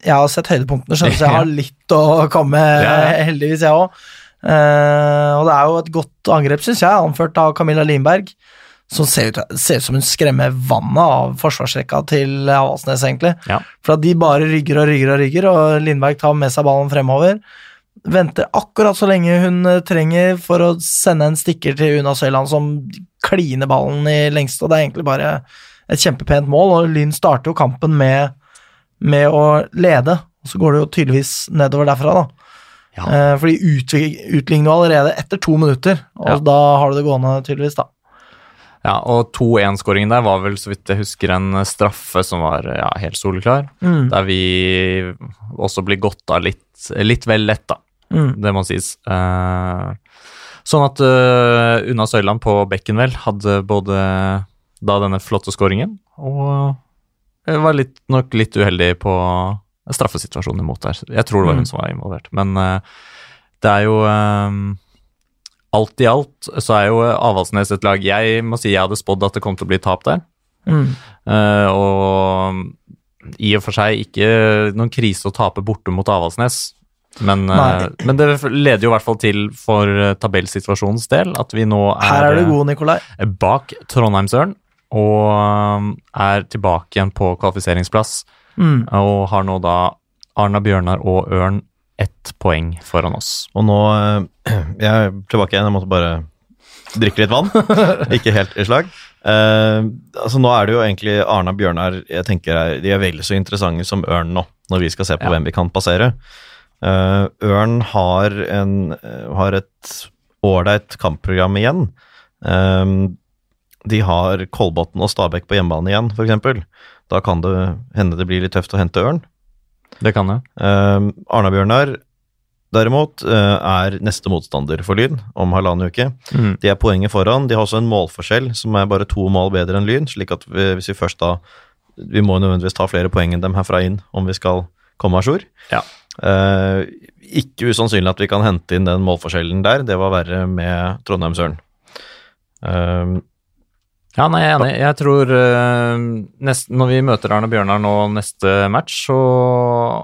Speaker 1: Jeg har sett høydepunktene, skjønner du, så jeg har litt å komme med,
Speaker 2: Ja, ja.
Speaker 1: eh, heldigvis, jeg òg. og det er jo et godt angrep, syns jeg, anført av Camilla Lindberg. Som ser ut, ser ut som hun skremmer vannet av forsvarsrekka til Avaldsnes, egentlig.
Speaker 2: Ja.
Speaker 1: For at de bare rygger og rygger og rygger, og Lindberg tar med seg ballen fremover. Venter akkurat så lenge hun eh, trenger for å sende en stikker til Una Søyland, som kliner ballen i lengste, og det er egentlig bare et kjempepent mål. Og Lyn starter jo kampen med, med å lede, og så går det jo tydeligvis nedover derfra, da.
Speaker 2: Ja.
Speaker 1: Eh, For de utvik- utligner jo allerede etter to minutter, og
Speaker 2: Ja.
Speaker 1: da har du det gående, tydeligvis, da.
Speaker 2: Ja, og 2-1-skåringen der var vel, så vidt jeg husker, en straffe som var ja, helt soleklar.
Speaker 1: Mm.
Speaker 2: Der vi også blir godt av litt, litt vel lett, da.
Speaker 1: Mm.
Speaker 2: Det må sies. Eh, sånn at eh, Unna Søyland på bekken vel hadde både da denne flotte skåringen og eh, var litt, nok litt uheldig på straffesituasjonen imot der. Jeg tror det var
Speaker 1: Mm.
Speaker 2: hun som var involvert. Men eh, det er jo eh, Alt i alt så er jo Avaldsnes et lag Jeg må si jeg hadde spådd at det kom til å bli tap der.
Speaker 1: Mm.
Speaker 2: Eh, og i og for seg ikke noen krise å tape borte mot Avaldsnes. Men, eh,
Speaker 1: Nei.
Speaker 2: men det leder jo i hvert fall til for eh, tabellsituasjonens del at vi nå er,
Speaker 1: Her er du god, Nikolai.
Speaker 2: eh, bak Trondheimsøren og eh, er tilbake igjen på kvalifiseringsplass.
Speaker 1: Mm.
Speaker 2: Og har nå da Arna Bjørnar og Ørn ett poeng foran oss.
Speaker 3: Og nå eh, Jeg er tilbake igjen, jeg måtte bare drikke litt vann. Ikke helt i slag. Eh, altså Nå er det jo egentlig Arna Bjørnar jeg tenker er, de er vel så interessante som Ørn nå, når vi skal se på
Speaker 2: Ja.
Speaker 3: hvem vi kan passere. Eh, Ørn har, en, eh, har et ålreit kampprogram igjen. Eh, de har Kolbotn og Stabæk på hjemmebane igjen, f.eks. Da kan det hende det blir litt tøft å hente Ørn.
Speaker 2: Det kan det.
Speaker 3: Uh, Arna-Bjørnar derimot eh, er neste motstander for Lyn om halvannen uke.
Speaker 2: Mm.
Speaker 3: De er poenget foran. De har også en målforskjell som er bare to mål bedre enn Lyn. slik at vi, hvis vi først da Vi må jo nødvendigvis ta flere poeng enn dem herfra inn om vi skal komme à jour.
Speaker 2: Ja.
Speaker 3: Eh, ikke usannsynlig at vi kan hente inn den målforskjellen der. Det var verre med Trondheim-Søren. Eh,
Speaker 2: Ja, nei, jeg er enig. Jeg tror eh, nest, Når vi møter Arne Bjørnar nå neste match, så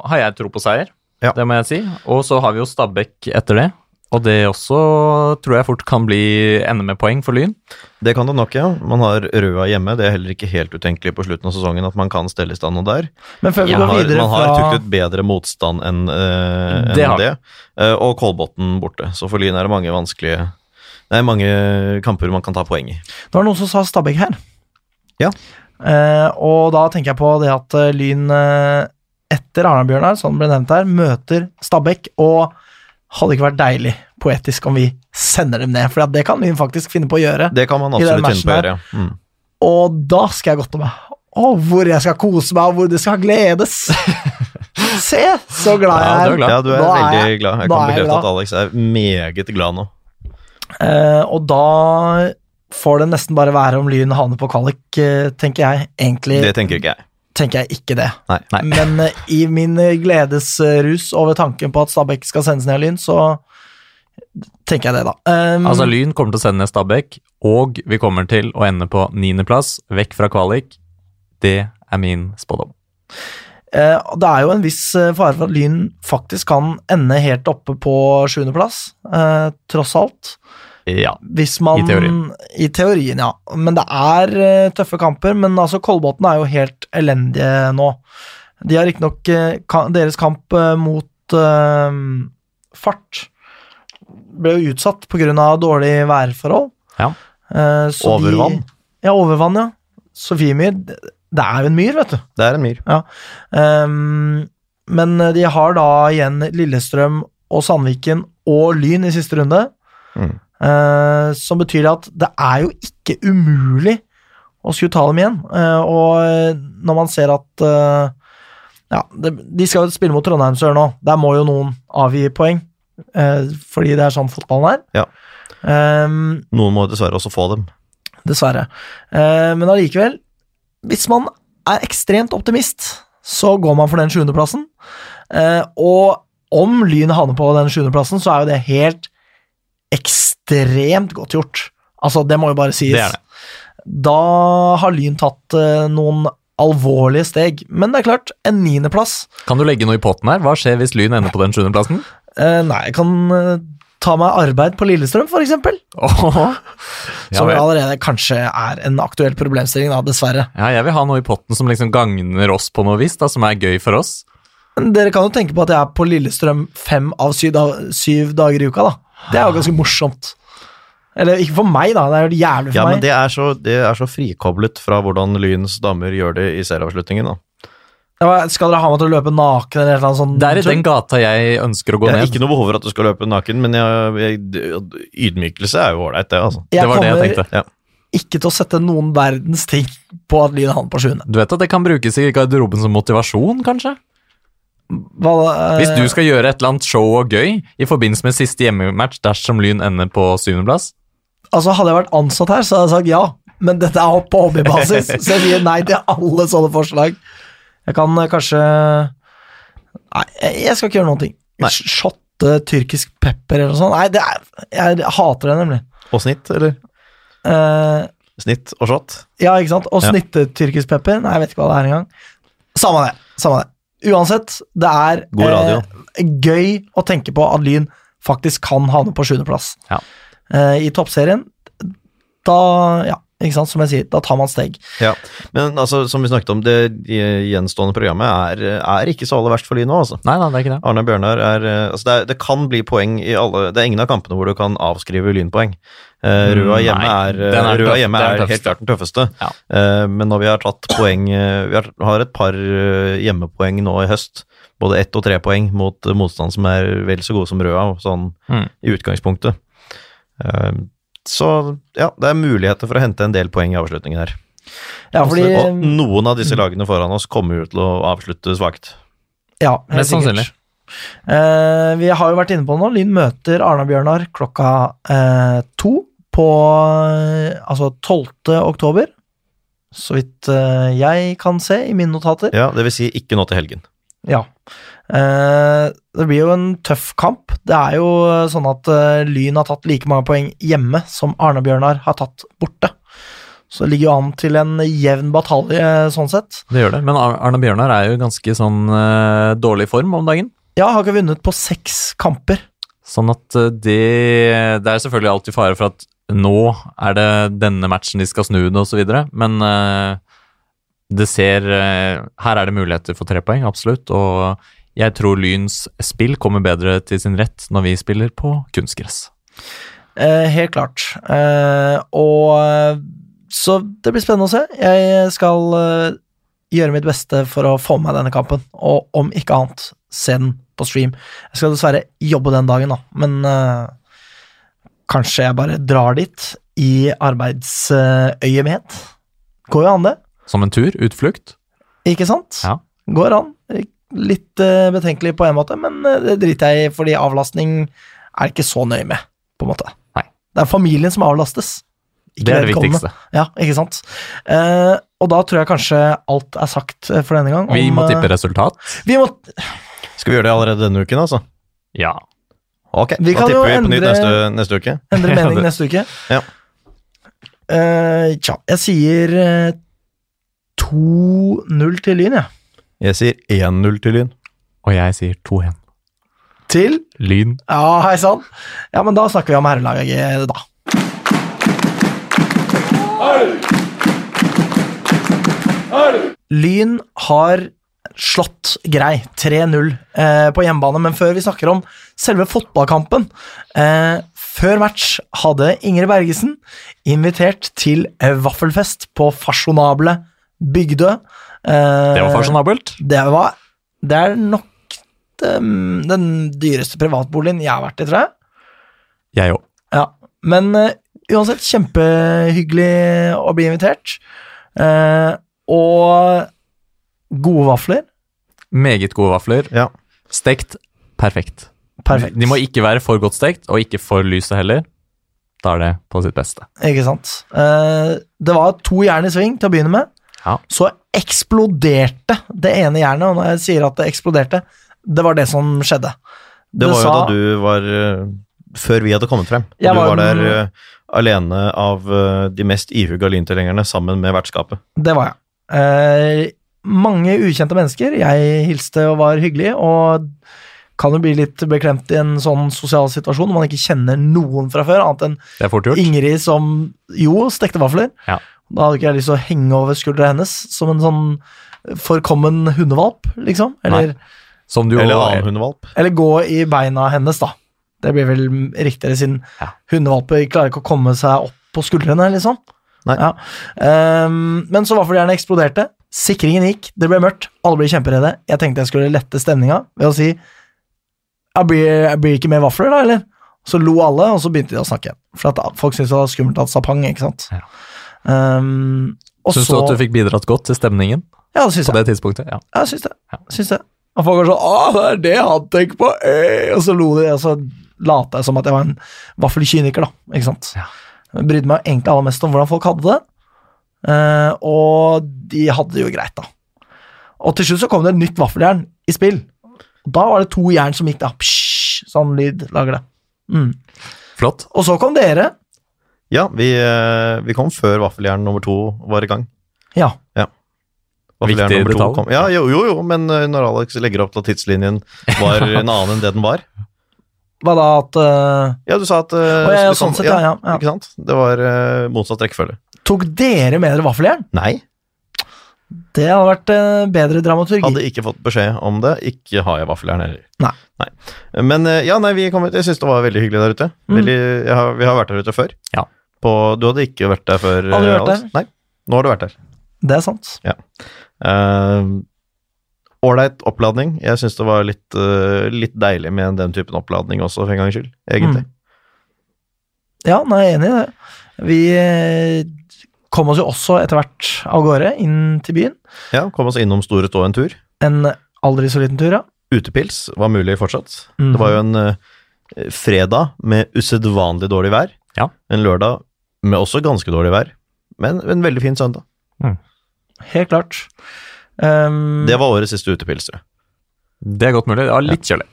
Speaker 2: har jeg tro på seier.
Speaker 3: Ja.
Speaker 2: Det må jeg si. Og så har vi jo Stabæk etter det. Og det også tror jeg fort kan bli ende med poeng for Lyn.
Speaker 3: Det kan det nok, ja. Man har Røa hjemme. Det er heller ikke helt utenkelig på slutten av sesongen at man kan stelle i stand noe der.
Speaker 1: Men før vi
Speaker 3: Man
Speaker 1: går
Speaker 3: har,
Speaker 1: videre
Speaker 3: man har
Speaker 1: fra
Speaker 3: tuklet bedre motstand enn eh, enn
Speaker 2: Det har
Speaker 3: det. Eh, og Kolbotn borte. Så for Lyn er det mange vanskelige Nei, mange kamper man kan ta poeng i.
Speaker 1: Det var noen som sa Stabæk her.
Speaker 3: Ja.
Speaker 1: Eh, og da tenker jeg på det at eh, Lyn eh, etter Arna-Bjørnar, som ble nevnt her, møter Stabæk. Og hadde ikke vært deilig poetisk om vi sender dem ned, for det kan Lyn faktisk finne på å gjøre.
Speaker 3: Det kan man
Speaker 1: I den
Speaker 3: absolutt finne på å
Speaker 1: matchen
Speaker 3: gjøre. ja. Mm.
Speaker 1: Og da skal jeg godte meg. Å, hvor jeg skal kose meg, og hvor det skal gledes. Se, så glad
Speaker 2: Ja,
Speaker 1: jeg er.
Speaker 2: du er glad.
Speaker 3: Ja, du er
Speaker 1: Da er
Speaker 3: veldig
Speaker 1: jeg-
Speaker 3: glad.
Speaker 1: da er
Speaker 3: Jeg kan
Speaker 1: jeg
Speaker 3: bekrefte
Speaker 1: glad.
Speaker 3: at Alex er meget glad nå.
Speaker 1: Eh, og da får det nesten bare være om Lyn havner på kvalik, eh, tenker jeg. Egentlig
Speaker 3: Det tenker ikke jeg.
Speaker 1: tenker jeg ikke det.
Speaker 3: Nei.
Speaker 2: Nei.
Speaker 1: Men eh, i min eh, gledesrus over tanken på at Stabæk skal sendes ned av Lyn, så tenker jeg det, da. Um,
Speaker 2: Altså Lyn kommer til å sende ned Stabæk, og vi kommer til å ende på niendeplass, vekk fra kvalik. Det er min spådom.
Speaker 1: eh, og det er jo en viss eh, fare for at Lyn faktisk kan ende helt oppe på sjuendeplass, eh, tross alt. Mm.
Speaker 2: Ja.
Speaker 1: Hvis man,
Speaker 2: I teorien.
Speaker 1: I teorien, ja. Men det er eh, tøffe kamper. Men altså, Kolbotn er jo helt elendige nå. De har riktignok eh, ka- Deres kamp eh, mot eh, Fart ble jo utsatt pga. dårlige værforhold.
Speaker 2: Ja.
Speaker 1: Eh, så de-
Speaker 3: Overvann.
Speaker 1: ja, overvann, ja. Sofiemyr. det- Det er jo en myr, vet du.
Speaker 3: Det er en myr.
Speaker 1: Ehm, men de har da igjen Lillestrøm og Sandviken og Lyn i siste runde.
Speaker 3: Mm.
Speaker 1: Eh, som betyr at det er jo ikke umulig å skulle ta dem igjen. Eh, og når man ser at eh, Ja, det, de skal jo spille mot Trondheim Sør nå. Der må jo noen avgi poeng. eh, fordi det er sånn fotballen er.
Speaker 3: Ja.
Speaker 1: Ehm,
Speaker 3: Noen må dessverre også få dem.
Speaker 1: dessverre. Eh, men allikevel, hvis man er ekstremt optimist, så går man for den sjuendeplassen. Eh, og om Lyn havner på den sjuendeplassen, så er jo det helt ekstremt godt gjort. Altså, det må jo bare sies.
Speaker 2: Det er det.
Speaker 1: Da har Lyn tatt eh, noen alvorlige steg. Men det er klart, en niendeplass
Speaker 2: Kan du legge noe i potten her? Hva skjer hvis Lyn ender på den sjuendeplassen?
Speaker 1: eh, Nei, jeg kan eh, ta meg arbeid på Lillestrøm, for eksempel.
Speaker 2: Åh. Ja,
Speaker 1: Som
Speaker 2: vel.
Speaker 1: allerede kanskje er en aktuell problemstilling, da, dessverre.
Speaker 2: ja, jeg vil ha noe i potten som liksom gagner oss på noe vis, da, som er gøy for oss.
Speaker 1: Dere kan jo tenke på at jeg er på Lillestrøm fem av syv, da, syv dager i uka, da. Det er jo ganske morsomt. Eller ikke for meg, da. Det er jo jævlig for
Speaker 3: Ja, men
Speaker 1: meg.
Speaker 3: det er, så, det er så frikoblet fra hvordan Lyns damer gjør det i serieavslutningen. da.
Speaker 1: Ja, men Skal dere ha meg til å løpe naken eller et eller annet sånt?
Speaker 2: Det er i
Speaker 1: tull?
Speaker 2: den gata jeg ønsker å gå
Speaker 3: Jeg har
Speaker 2: ned.
Speaker 3: ikke noe behov for at du skal løpe naken, men jeg, jeg, ydmykelse er jo ålreit, det, altså.
Speaker 2: Det var det jeg
Speaker 1: kommer
Speaker 2: tenkte.
Speaker 1: ikke til å sette noen verdens ting på at Lyn havner på sjuende.
Speaker 2: Du vet at det kan brukes i garderoben som motivasjon, kanskje?
Speaker 1: Hva- eh,
Speaker 2: Hvis du skal gjøre et eller annet show og gøy i forbindelse med siste hjemmematch dersom Lyn ender på syvendeplass.
Speaker 1: Altså, hadde jeg vært ansatt her, så hadde jeg sagt ja. Men dette er på hobbybasis, så jeg sier nei til alle sånne forslag. Jeg kan eh, kanskje Nei, jeg jeg skal ikke gjøre noen ting.
Speaker 3: Nei.
Speaker 1: Shotte tyrkisk pepper eller noe sånt. Nei, det er, jeg hater det, nemlig.
Speaker 3: Og snitt, eller?
Speaker 1: Eh,
Speaker 3: Snitt og shot.
Speaker 1: ja, ikke sant? Og
Speaker 3: Ja.
Speaker 1: snitte tyrkisk pepper. Nei, jeg vet ikke hva det er engang. Samme det. Samme det. Uansett, det er
Speaker 3: God radio.
Speaker 1: eh, gøy å tenke på at Lyn faktisk kan havne på sjuendeplass
Speaker 2: Ja.
Speaker 1: eh, i toppserien. Da, ja, ikke sant, som jeg sier, da tar man steg.
Speaker 3: Ja. Men altså, som vi snakket om, det gjenstående programmet er, er ikke så aller verst for Lyn nå, altså.
Speaker 2: Nei da, det er ikke det.
Speaker 3: Arne Bjørnar er eh, altså det, er, det kan bli poeng i alle Det er ingen av kampene hvor du kan avskrive lynpoeng. Eh, Røa
Speaker 2: Mm,
Speaker 3: hjemme
Speaker 2: nei,
Speaker 3: er, eh,
Speaker 2: den er den
Speaker 3: Røa
Speaker 2: tøff-
Speaker 3: hjemme
Speaker 2: det er
Speaker 3: er
Speaker 2: den
Speaker 3: helt
Speaker 2: tøffeste.
Speaker 3: klart den tøffeste.
Speaker 2: Ja.
Speaker 3: Eh, men når vi har tatt poeng eh, Vi har, har et par eh, hjemmepoeng nå i høst. Både ett og tre poeng mot eh, motstand som er vel så gode som Røa, sånn
Speaker 2: Mm.
Speaker 3: i utgangspunktet. Eh, så ja, det er muligheter for å hente en del poeng i avslutningen her.
Speaker 1: Ja, fordi eh, mm.
Speaker 3: og noen av disse lagene foran oss kommer jo til å avslutte svakt.
Speaker 1: ja, helt
Speaker 2: Mest
Speaker 1: sikkert.
Speaker 2: sannsynlig.
Speaker 1: Eh, vi har jo vært inne på det nå. Lyn møter Arna-Bjørnar klokka eh, to på eh, altså 12. oktober. Så vidt eh, jeg kan se i mine notater.
Speaker 3: Ja, det vil si ikke nå til helgen.
Speaker 1: Ja. Eh, det blir jo en tøff kamp. Det er jo eh, sånn at eh, Lyn har tatt like mange poeng hjemme som Arne-Bjørnar har tatt borte. Så det ligger jo an til en jevn batalje eh, sånn sett.
Speaker 2: Det gjør det. Men Ar- Arne Bjørnar er jo i ganske sånn eh, dårlig form om dagen.
Speaker 1: Ja, har ikke vunnet på seks kamper.
Speaker 2: Sånn at eh, det Det er selvfølgelig alltid fare for at nå er det denne matchen de skal snu det, osv. Men eh, det ser eh, Her er det muligheter for tre poeng, absolutt. Og jeg tror Lyns spill kommer bedre til sin rett når vi spiller på kunstgress.
Speaker 1: Eh, helt klart. Eh, og eh, Så det blir spennende å se. Jeg skal eh, gjøre mitt beste for å få med meg denne kampen, og om ikke annet, se den på stream. Jeg skal dessverre jobbe den dagen, da, men eh, kanskje jeg bare drar dit i arbeidsøyemed. Går jo an, det.
Speaker 2: Som en tur, utflukt.
Speaker 1: Ikke sant?
Speaker 2: Ja.
Speaker 1: Går an. Litt eh, betenkelig på en måte, men eh, det driter jeg i, fordi avlastning er ikke så nøye med, på en måte.
Speaker 2: Nei.
Speaker 1: Det er familien som avlastes. ikke
Speaker 2: det er det
Speaker 1: vedkommende.
Speaker 2: viktigste.
Speaker 1: Ja, ikke sant. Eh, og da tror jeg kanskje alt er sagt eh, for denne gang.
Speaker 2: Vi må
Speaker 1: om, eh,
Speaker 2: tippe resultat.
Speaker 1: Vi, må,
Speaker 3: Skal vi gjøre det allerede denne uken, altså?
Speaker 2: Ja.
Speaker 3: Ok,
Speaker 1: Vi
Speaker 3: da
Speaker 1: kan jo
Speaker 3: tipper vi på nytt
Speaker 1: endre-
Speaker 3: neste, neste uke.
Speaker 1: endre
Speaker 2: Ja,
Speaker 1: mening
Speaker 2: det-
Speaker 1: neste uke.
Speaker 3: Ja.
Speaker 1: Eh, tja, jeg sier eh, 2-0 til Lyn, jeg.
Speaker 3: Jeg sier 1-0 til Lyn.
Speaker 2: Og jeg sier 2-1.
Speaker 1: Til?
Speaker 2: Lyn.
Speaker 1: Ja, hei sann. Ja, men da snakker vi om herrelaget, da. Lyn har slått grei 3-0 eh, på hjemmebane, men før vi snakker om selve fotballkampen eh, Før match hadde Ingrid Bergesen invitert til eh, vaffelfest på fasjonable Bygdø. Eh,
Speaker 2: Det var fasjonabelt.
Speaker 1: det var Det er nok den, den dyreste privatboligen jeg har vært i, tror jeg.
Speaker 2: Jeg òg.
Speaker 1: Ja. Men eh, uansett, kjempehyggelig å bli invitert. Eh, og gode vafler.
Speaker 2: Meget gode vafler.
Speaker 3: Ja.
Speaker 2: Stekt perfekt.
Speaker 1: Perfekt.
Speaker 2: De må ikke være for godt stekt, og ikke for lyse heller. Da er det på sitt beste.
Speaker 1: Ikke sant. Eh, det var to jern i sving til å begynne med.
Speaker 2: Ja.
Speaker 1: Så eksploderte det ene jernet, og når jeg sier at det eksploderte, det var det som skjedde.
Speaker 3: Det var jo
Speaker 1: sa-
Speaker 3: da du var eh, Før vi hadde kommet frem. Og
Speaker 1: Jeg
Speaker 3: du
Speaker 1: var
Speaker 3: var der
Speaker 1: den-
Speaker 3: eh, alene av eh, de mest ihuga lyntilhengerne sammen med vertskapet.
Speaker 1: Det var jeg. Eh, mange ukjente mennesker. Jeg hilste og var hyggelig, og kan jo bli litt beklemt i en sånn sosial situasjon når man ikke kjenner noen fra før, annet enn
Speaker 2: Det er fort gjort.
Speaker 1: Ingrid som jo stekte vafler.
Speaker 2: Ja.
Speaker 1: Da hadde ikke jeg lyst til å henge over skuldra hennes som en sånn forkommen hundevalp, liksom. Eller,
Speaker 2: Som du
Speaker 3: Eller
Speaker 2: og
Speaker 3: annen hundevalp.
Speaker 1: eller gå i beina hennes, da. Det blir vel riktigere, siden
Speaker 2: Ja.
Speaker 1: hundevalper klarer ikke å komme seg opp på skuldrene, liksom.
Speaker 3: Nei.
Speaker 1: Ja. Ehm, men så vaffeljernet eksploderte. Sikringen gikk, det ble mørkt, alle ble kjemperedde. Jeg tenkte jeg skulle lette stemninga ved å si «Ja, blir, blir det ikke mer vafler, da, eller? Så lo alle, og så begynte de å snakke igjen. For at folk syntes det var skummelt at sapang, ikke sant.
Speaker 2: Ja.
Speaker 1: Ehm, og
Speaker 2: Syns du
Speaker 1: så
Speaker 2: at du fikk bidratt godt til stemningen
Speaker 1: Ja, det syns
Speaker 2: på
Speaker 1: jeg.
Speaker 2: det tidspunktet? Ja.
Speaker 1: Ja, jeg syns det.
Speaker 2: Ja.
Speaker 1: Syns det. Og folk var sånn 'Å, det er det han tenker på!' eh», Og så lo de, og så lata jeg som at jeg var en vaffelkyniker, da. Ikke sant?
Speaker 2: Ja.
Speaker 1: Jeg brydde meg egentlig aller mest om hvordan folk hadde det. Eh, og de hadde det jo greit, da. Og til slutt så kom det et nytt vaffeljern i spill. Og da var det to jern som gikk da. Psj, sånn lyd lager det. Mm.
Speaker 2: Flott.
Speaker 1: Og så kom dere.
Speaker 3: Ja, vi, eh, vi kom før vaffeljern nummer to var i gang.
Speaker 1: Ja.
Speaker 3: Vaffeljern
Speaker 2: Viktig
Speaker 3: nummer to
Speaker 2: detalj.
Speaker 3: Kom. Ja, jo, jo, jo, men eh, når Alex legger opp til at tidslinjen var en annen enn det den var
Speaker 1: Hva da at eh,
Speaker 3: Ja, du sa at eh,
Speaker 1: Å ja, ja,
Speaker 3: så det kom-
Speaker 1: sånn sett, ja. ja, ja.
Speaker 3: Ikke sant? Det var eh, motsatt rekkefølge.
Speaker 1: Tok dere med dere vaffeljern?
Speaker 3: Nei,
Speaker 1: Det hadde vært eh, bedre dramaturgi.
Speaker 3: hadde ikke fått beskjed om det. Ikke har jeg vaffeljern heller.
Speaker 1: Nei.
Speaker 3: Men eh, ja, nei, vi kom ut. Jeg syns det var veldig hyggelig der ute.
Speaker 1: Mm.
Speaker 3: Veldig, jeg har, vi har vært der ute før.
Speaker 2: Ja.
Speaker 3: På, du hadde ikke vært der før,
Speaker 1: Aldri
Speaker 3: eh,
Speaker 1: vært
Speaker 3: Alex?
Speaker 1: der.
Speaker 3: Nei, nå har du vært der.
Speaker 1: Det er sant.
Speaker 3: Eh, Ålreit oppladning. Jeg syns det var litt, eh, litt deilig med den typen oppladning også, for en gangs skyld. Egentlig.
Speaker 1: Mm. Ja, nei, jeg er enig i det. Vi eh, kom oss jo også etter hvert av gårde inn til byen.
Speaker 3: Ja, Kom oss innom Store Stå en tur.
Speaker 1: En aldri så liten tur, ja.
Speaker 3: Utepils var mulig fortsatt.
Speaker 1: Mhm.
Speaker 3: Det var jo en eh, fredag med usedvanlig dårlig vær.
Speaker 2: Ja.
Speaker 3: En lørdag med også ganske dårlig vær, men en veldig fin søndag.
Speaker 1: Helt klart. Ehm,
Speaker 3: Det var årets siste utepils, tror jeg.
Speaker 2: Det er godt mulig. Ja, litt kjølig.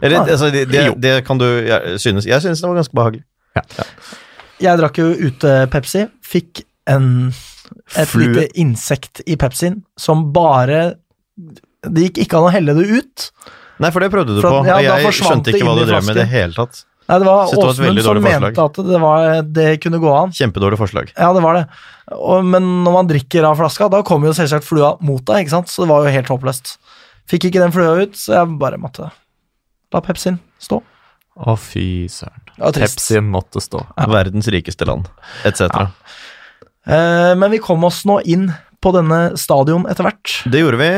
Speaker 3: Eller,
Speaker 1: Ah,
Speaker 3: altså, det, det,
Speaker 2: jo.
Speaker 3: det kan du jeg- synes. Jeg synes det var ganske behagelig.
Speaker 1: Jeg drakk jo ute Pepsi, fikk en, et
Speaker 3: Flue.
Speaker 1: lite insekt i Pepsien som bare Det gikk ikke an å helle det ut.
Speaker 3: Nei, for det prøvde du
Speaker 1: For
Speaker 3: på.
Speaker 1: at- ja,
Speaker 3: og
Speaker 1: da
Speaker 3: jeg
Speaker 1: forsvant
Speaker 3: skjønte
Speaker 1: det
Speaker 3: ikke hva
Speaker 1: inn
Speaker 3: du
Speaker 1: i
Speaker 3: drev med i det
Speaker 1: flasken.
Speaker 3: hele tatt.
Speaker 1: Nei, det var
Speaker 3: Synes det var et
Speaker 1: Åsmund
Speaker 3: veldig
Speaker 1: som
Speaker 3: dårlig forslag.
Speaker 1: mente at det, var, det kunne gå an.
Speaker 3: Kjempedårlig forslag.
Speaker 1: Ja, det var det. Og, men når man drikker av flaska, da kommer jo selvsagt flua mot deg, ikke sant? så det var jo helt håpløst. Fikk ikke den flua ut, så jeg bare måtte la Pepsien stå.
Speaker 2: Å, fy søren.
Speaker 1: Det var trist.
Speaker 2: Pepsien måtte stå.
Speaker 3: Verdens rikeste land, etc.
Speaker 1: Eh, men vi kom oss nå inn på denne stadion etter hvert.
Speaker 3: Det gjorde vi.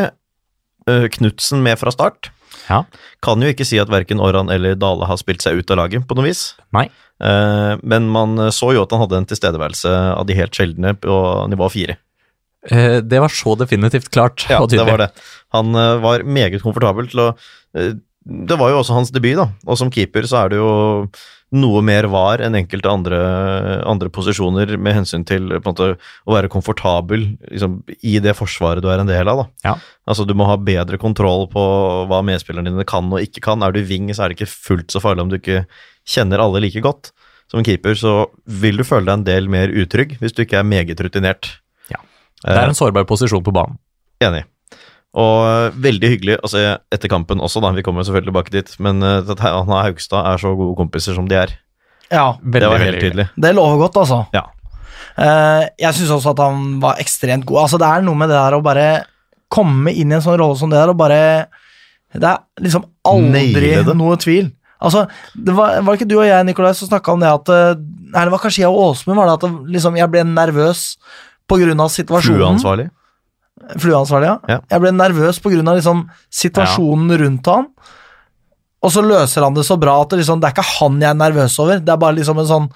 Speaker 3: Eh, Knutsen med fra start.
Speaker 2: Ja.
Speaker 3: Kan jo ikke si at verken Oran eller Dale har spilt seg ut av laget, på noe vis.
Speaker 2: Nei.
Speaker 3: Eh, Men man så jo at han hadde en tilstedeværelse av de helt sjeldne på nivå fire.
Speaker 2: Eh, Det var så definitivt klart
Speaker 3: Ja,
Speaker 2: og
Speaker 3: det
Speaker 2: tydelig.
Speaker 3: var det. Han eh, var meget komfortabel til å eh, Det var jo også hans debut, da. Og som keeper så er det jo noe mer var enn enkelte andre, andre posisjoner med hensyn til på en måte, å være komfortabel liksom, i det forsvaret du er en del av. Da.
Speaker 2: Ja.
Speaker 3: Altså, du må ha bedre kontroll på hva medspillerne dine kan og ikke kan. Er du wing, så er det ikke fullt så farlig om du ikke kjenner alle like godt. Som en keeper så vil du føle deg en del mer utrygg hvis du ikke er meget rutinert.
Speaker 2: Ja.
Speaker 3: Eh,
Speaker 2: Det er en sårbar posisjon på banen.
Speaker 3: Enig. Og eh, veldig hyggelig altså, etter kampen også, da. Vi kommer jo selvfølgelig tilbake dit. Men eh, at han og Haugstad er så gode kompiser som de er.
Speaker 1: Ja,
Speaker 2: Veldig,
Speaker 3: det var
Speaker 2: veldig
Speaker 3: helt tydelig.
Speaker 1: Det lover godt, altså.
Speaker 3: Ja.
Speaker 1: Eh, jeg syns også at han var ekstremt god. Altså, det er noe med det der å bare komme inn i en sånn rolle som det der og bare Det er liksom aldri
Speaker 3: Naile det.
Speaker 1: noe tvil. Altså, det var, var det ikke du og jeg, Nikolai, som snakka om det at eh, Nei, det var kanskje jeg og Åsmund, var det at det, liksom, jeg ble nervøs på grunn av situasjonen.
Speaker 3: Flueansvarlig.
Speaker 1: Flueansvarlig, ja.
Speaker 3: Ja.
Speaker 1: Jeg ble nervøs på grunn av liksom, situasjonen rundt han. Og så løser han det så bra at det, liksom, det er ikke han jeg er nervøs over. Det er bare liksom en sånn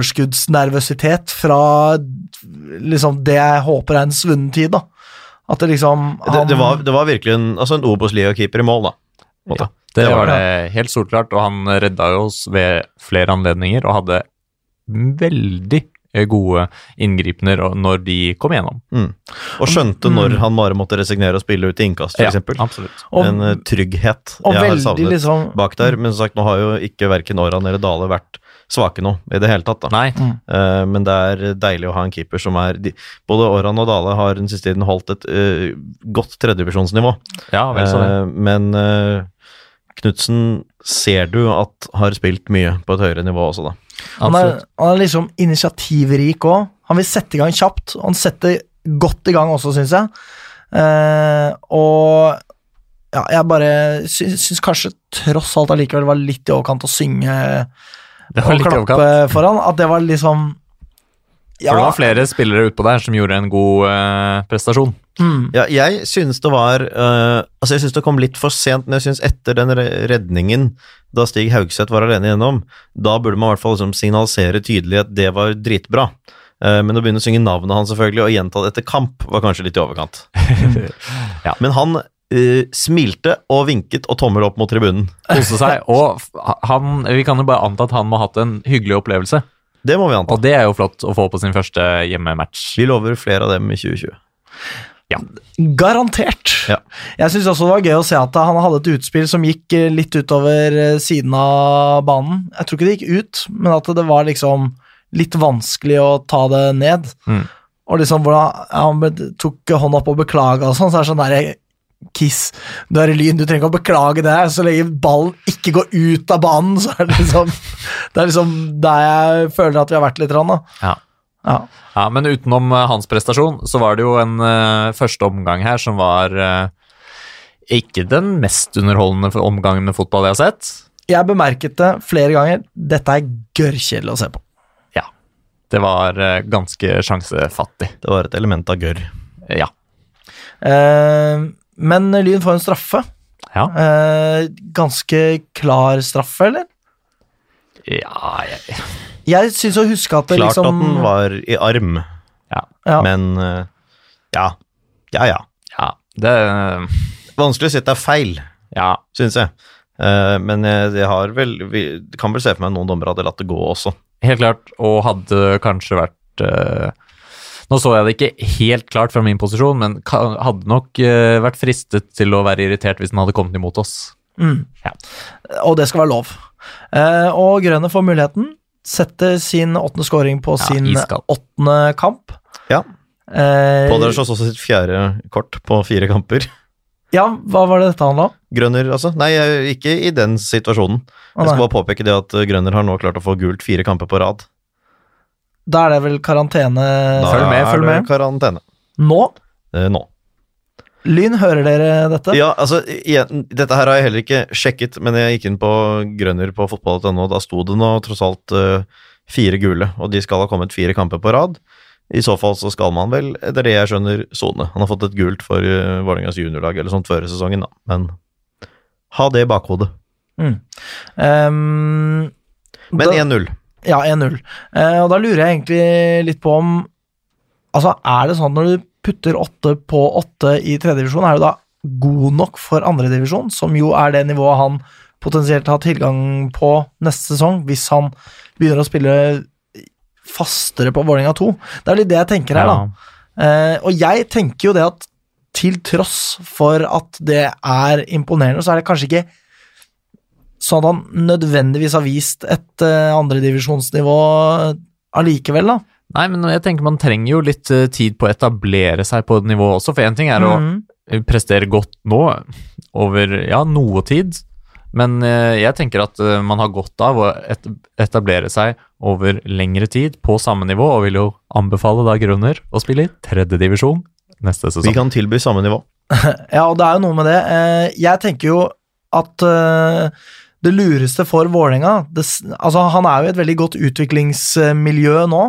Speaker 1: overskuddsnervøsitet fra liksom, det jeg håper er en svunnen tid. da. At det liksom han,
Speaker 3: Det, det, var, det var virkelig en, altså en Obos Leo-keeper i mål, da. på en måte.
Speaker 2: Det
Speaker 3: Det var
Speaker 2: var det helt solklart, og han redda jo oss ved flere anledninger og hadde veldig gode inngripener og- når de kom igjennom.
Speaker 3: Mm. Og skjønte når han bare måtte resignere og spille ut til innkast,
Speaker 2: Ja,
Speaker 3: f.eks. eksempel
Speaker 2: absolutt.
Speaker 1: og,
Speaker 3: en eh, trygghet
Speaker 1: og
Speaker 3: jeg har
Speaker 1: veldig
Speaker 3: savnet
Speaker 1: liksom
Speaker 3: bak der. Men som sagt, nå har jo ikke verken Oran eller Dale vært svake nå i det hele tatt. da.
Speaker 2: Nei,
Speaker 3: Eh, men det er deilig å ha en keeper som er de, Både Oran og Dale har den siste tiden holdt et eh, godt tredjevisjonsnivå.
Speaker 2: ja, vel så det.
Speaker 3: Eh, men uh, Knutsen ser du at har spilt mye på et høyere nivå også, da.
Speaker 1: han er,
Speaker 2: Absolutt.
Speaker 1: han er liksom initiativrik òg. Han vil sette i gang kjapt. og Han setter godt i gang også, syns jeg. Eh, og ja, jeg bare syns, syns kanskje tross alt allikevel det var litt i overkant å synge
Speaker 2: Det var
Speaker 1: og
Speaker 2: litt i
Speaker 1: klappe
Speaker 2: overkant.
Speaker 1: foran. At det var liksom
Speaker 2: For det var flere spillere utpå der som gjorde en god eh, prestasjon.
Speaker 1: Mm,
Speaker 3: Ja, jeg synes det var eh, Altså, jeg synes det kom litt for sent, men jeg synes etter den re- redningen da Stig Haugseth var alene gjennom, da burde man i hvert fall liksom signalisere tydelig at det var dritbra. Eh, men å begynne å synge navnet hans selvfølgelig, og gjenta det etter kamp, var kanskje litt i overkant.
Speaker 2: Ja.
Speaker 3: Men han eh, smilte og vinket og tommel opp mot tribunen.
Speaker 2: Koste seg. Og f- han, vi kan jo bare anta at han må ha hatt en hyggelig opplevelse.
Speaker 3: Det må vi anta.
Speaker 2: Og det er jo flott å få på sin første hjemmematch.
Speaker 3: Vi lover flere av dem i 2020.
Speaker 1: garantert.
Speaker 3: Ja.
Speaker 1: Jeg syns også det var gøy å se at han hadde et utspill som gikk eh, litt utover eh, siden av banen. Jeg tror ikke det gikk ut, men at det var liksom litt vanskelig å ta det ned.
Speaker 2: Mm.
Speaker 1: Og liksom hvordan ja, han be- tok hånda opp og beklaga og sånn, så er det sånn derre Kiss, du er i Lyn, du trenger ikke å beklage det. her, Så lenge ballen ikke går ut av banen, så er det liksom Det er liksom der jeg føler at vi har vært litt, rann, da.
Speaker 2: Ja.
Speaker 1: Ja.
Speaker 2: Ja, men utenom eh, hans prestasjon, så var det jo en eh, første omgang her som var eh, ikke den mest underholdende for- omgangen med fotball jeg har sett.
Speaker 1: Jeg bemerket det flere ganger. Dette er gørrkjedelig å se på.
Speaker 2: Ja. Det var eh, ganske sjansefattig.
Speaker 3: Det var et element av gørr.
Speaker 2: Eh, Ja.
Speaker 1: Eh, men Lyn får en straffe.
Speaker 2: Ja,
Speaker 1: Eh, ganske klar straffe, eller?
Speaker 2: ja, jeg,
Speaker 1: Jeg syns å huske at det
Speaker 3: Klart
Speaker 1: liksom
Speaker 3: at den var i arm,
Speaker 2: ja,
Speaker 1: ja.
Speaker 3: men eh, ja. Ja, ja.
Speaker 2: ja. Det
Speaker 3: Vanskelig å si at det er feil.
Speaker 2: Ja.
Speaker 3: syns jeg. Eh, men jeg, jeg har vel vi, kan vel se for meg noen dommere hadde latt det gå også.
Speaker 2: Helt klart, og hadde kanskje vært eh, Nå så jeg det ikke helt klart fra min posisjon, men ka- hadde nok eh, vært fristet til å være irritert hvis den hadde kommet imot oss.
Speaker 1: Mm.
Speaker 2: Ja.
Speaker 1: Og det skal være lov. Eh, og Grønne får muligheten. Setter sin åttende scoring på
Speaker 2: Ja,
Speaker 1: sin
Speaker 2: iskald.
Speaker 1: åttende kamp.
Speaker 3: Ja.
Speaker 1: Eh,
Speaker 3: Podder slåss også sitt fjerde kort på fire kamper.
Speaker 1: Ja, hva var det dette handla om?
Speaker 3: Grønner, altså? Nei, jeg- ikke i den situasjonen.
Speaker 1: Å,
Speaker 3: Jeg skal
Speaker 1: nei.
Speaker 3: bare påpeke det at eh, Grønner har nå klart å få gult fire kamper på rad.
Speaker 1: Da er det vel karantene
Speaker 3: Da
Speaker 2: følg med, følg
Speaker 3: er det
Speaker 2: med.
Speaker 3: karantene.
Speaker 1: nå.
Speaker 3: Eh, nå.
Speaker 1: Lyn, hører dere dette?
Speaker 3: Ja, altså, igjen, dette her har jeg heller ikke sjekket, men jeg gikk inn på Grønner på fotball.no, og da sto det nå tross alt eh, fire gule, og de skal ha kommet fire kamper på rad. I så fall så skal man vel, etter det jeg skjønner, sone. Han har fått et gult for uh, Vålerengas juniorlag eller sånt før sesongen, da, men ha det i bakhodet.
Speaker 1: Ehm, da-
Speaker 3: Men 1-0.
Speaker 1: Ja, 1-0. Eh, og da lurer jeg egentlig litt på om Altså, er det sånn at når du putter åtte på åtte i tredjedivisjon, er du da god nok for andredivisjon, som jo er det nivået han potensielt har tilgang på neste sesong, hvis han begynner å spille fastere på Vålerenga 2? Det er litt det jeg tenker her, da.
Speaker 2: Ja.
Speaker 1: Eh, og jeg tenker jo det at til tross for at det er imponerende, så er det kanskje ikke sånn at han nødvendigvis har vist et eh, andredivisjonsnivå allikevel, da.
Speaker 2: Nei, men jeg tenker man trenger jo litt eh, tid på å etablere seg på et nivå også, for én ting er å
Speaker 1: Mhm.
Speaker 2: prestere godt nå, over ja, noe tid, men eh, jeg tenker at eh, man har godt av å et etablere seg over lengre tid på samme nivå, og vil jo anbefale da Grønner å spille i tredjedivisjon neste
Speaker 3: Vi
Speaker 2: sesong.
Speaker 3: kan tilby samme nivå.
Speaker 1: Ja, og det er jo noe med det. Eh, jeg tenker jo at eh, det lureste for Vålerenga det s- altså Han er jo i et veldig godt utviklingsmiljø nå,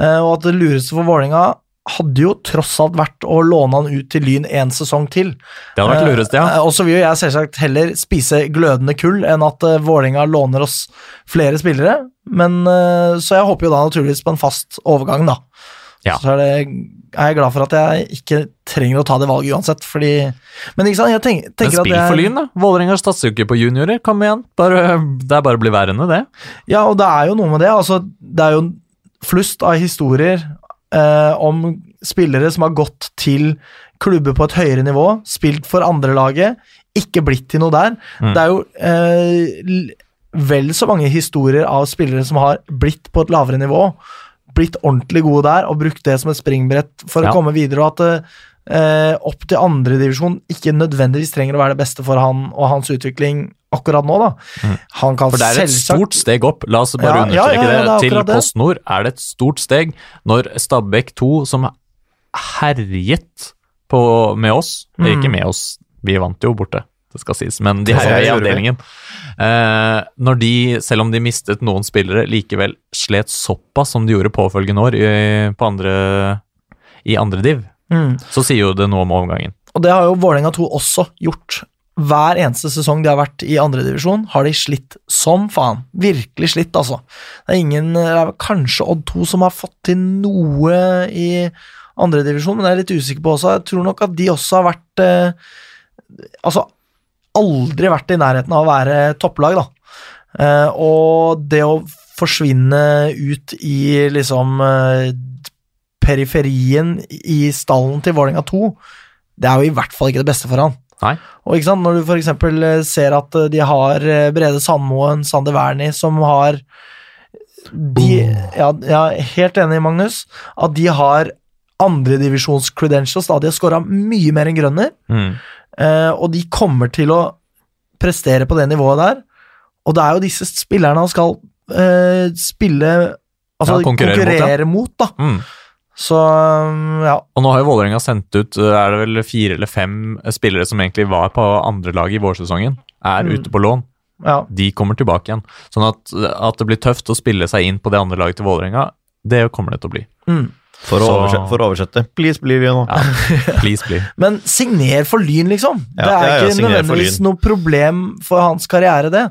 Speaker 1: eh, og at det lureste for Vålerenga hadde jo tross alt vært å låne han ut til Lyn en sesong til.
Speaker 2: Det hadde vært
Speaker 1: Eh,
Speaker 2: lurest, ja.
Speaker 1: eh, Og så vil jo jeg selvsagt heller spise glødende kull enn at eh, Vålerenga låner oss flere spillere. Men eh, Så jeg håper jo da naturligvis på en fast overgang, da.
Speaker 2: Ja.
Speaker 1: Så er, det, er jeg glad for at jeg ikke trenger å ta det valget uansett, fordi Men ikke sant, jeg tenk,
Speaker 2: Men
Speaker 1: tenker at
Speaker 2: spill
Speaker 1: jeg,
Speaker 2: for Lyn, da. Vålerenga satser jo ikke på juniorer. Kom igjen. Bare, det er bare å bli værende, det.
Speaker 1: Ja, og det er jo noe med det. Altså, det er jo en flust av historier eh, om spillere som har gått til klubber på et høyere nivå, spilt for andrelaget, ikke blitt til noe der.
Speaker 2: Mm.
Speaker 1: Det er jo eh, l- vel så mange historier av spillere som har blitt på et lavere nivå, blitt ordentlig gode der og brukt det som et springbrett for
Speaker 2: Ja.
Speaker 1: å komme videre, og at eh, eh, opp til andredivisjon ikke nødvendigvis trenger å være det beste for han og hans utvikling akkurat nå, da. Han kan
Speaker 2: Mm. For det er et
Speaker 1: selvsagt
Speaker 2: stort steg opp. La oss bare
Speaker 1: Ja, ja,
Speaker 2: understreke
Speaker 1: ja, ja, det er
Speaker 2: det. Til
Speaker 1: akkurat det.
Speaker 2: Post Nord er det et stort steg. Når Stabæk 2, som herjet på, med oss
Speaker 1: Mm.
Speaker 2: Ikke med oss, vi vant jo borte, det skal sies, men de
Speaker 3: Det
Speaker 2: herja i
Speaker 3: gjorde vi.
Speaker 2: avdelingen. Eh, når de, selv om de mistet noen spillere, likevel slet såpass som de gjorde påfølgende år i, på andre, i andre div,
Speaker 1: Mm.
Speaker 2: så sier jo det noe om overgangen.
Speaker 1: Og det har jo Vålerenga 2 også gjort. Hver eneste sesong de har vært i andredivisjon, har de slitt som faen. Virkelig slitt, altså. Det er ingen Det er vel kanskje Odd 2 som har fått til noe i andredivisjon, men det er jeg litt usikker på også. Jeg tror nok at de også har vært eh, Altså aldri vært i nærheten av å være topplag, da. Eh, og det å forsvinne ut i liksom eh, periferien i stallen til Vålerenga 2 det er jo i hvert fall ikke det beste for han.
Speaker 2: Nei.
Speaker 1: Og ikke sant, når du f.eks. ser at eh, de har eh, Brede Sandmoen, Sander Wernie, som har de, ja, ja, Helt enig, Magnus, at de har andredivisjons-credentials. da. De har scora mye mer enn Grønner,
Speaker 2: Mm.
Speaker 1: eh, og de kommer til å prestere på det nivået der. Og det er jo disse spillerne han skal eh, spille Altså
Speaker 2: Ja, konkurrere
Speaker 1: konkurrere,
Speaker 2: mot,
Speaker 1: mot,
Speaker 2: ja.
Speaker 1: da.
Speaker 2: Mm.
Speaker 1: Så um, ja.
Speaker 2: Og nå har jo Vålerenga sendt ut eh, er det vel fire eller fem eh, spillere som egentlig var på andrelaget i vårsesongen, er
Speaker 1: Mm.
Speaker 2: ute på lån.
Speaker 1: ja.
Speaker 2: De kommer tilbake igjen. Sånn at, at det blir tøft å spille seg inn på det andre laget til Vålerenga, det kommer det til å bli.
Speaker 1: Mm.
Speaker 3: For å,
Speaker 2: Så-
Speaker 3: oversette, for å oversette. Please, blir vi nå.
Speaker 2: Ja, please, please.
Speaker 1: Men signer for Lyn, liksom.
Speaker 3: Ja,
Speaker 1: det er
Speaker 3: ja, ja,
Speaker 1: ikke
Speaker 3: signer for
Speaker 1: nødvendigvis
Speaker 3: Lyn.
Speaker 1: noe problem for hans karriere, det.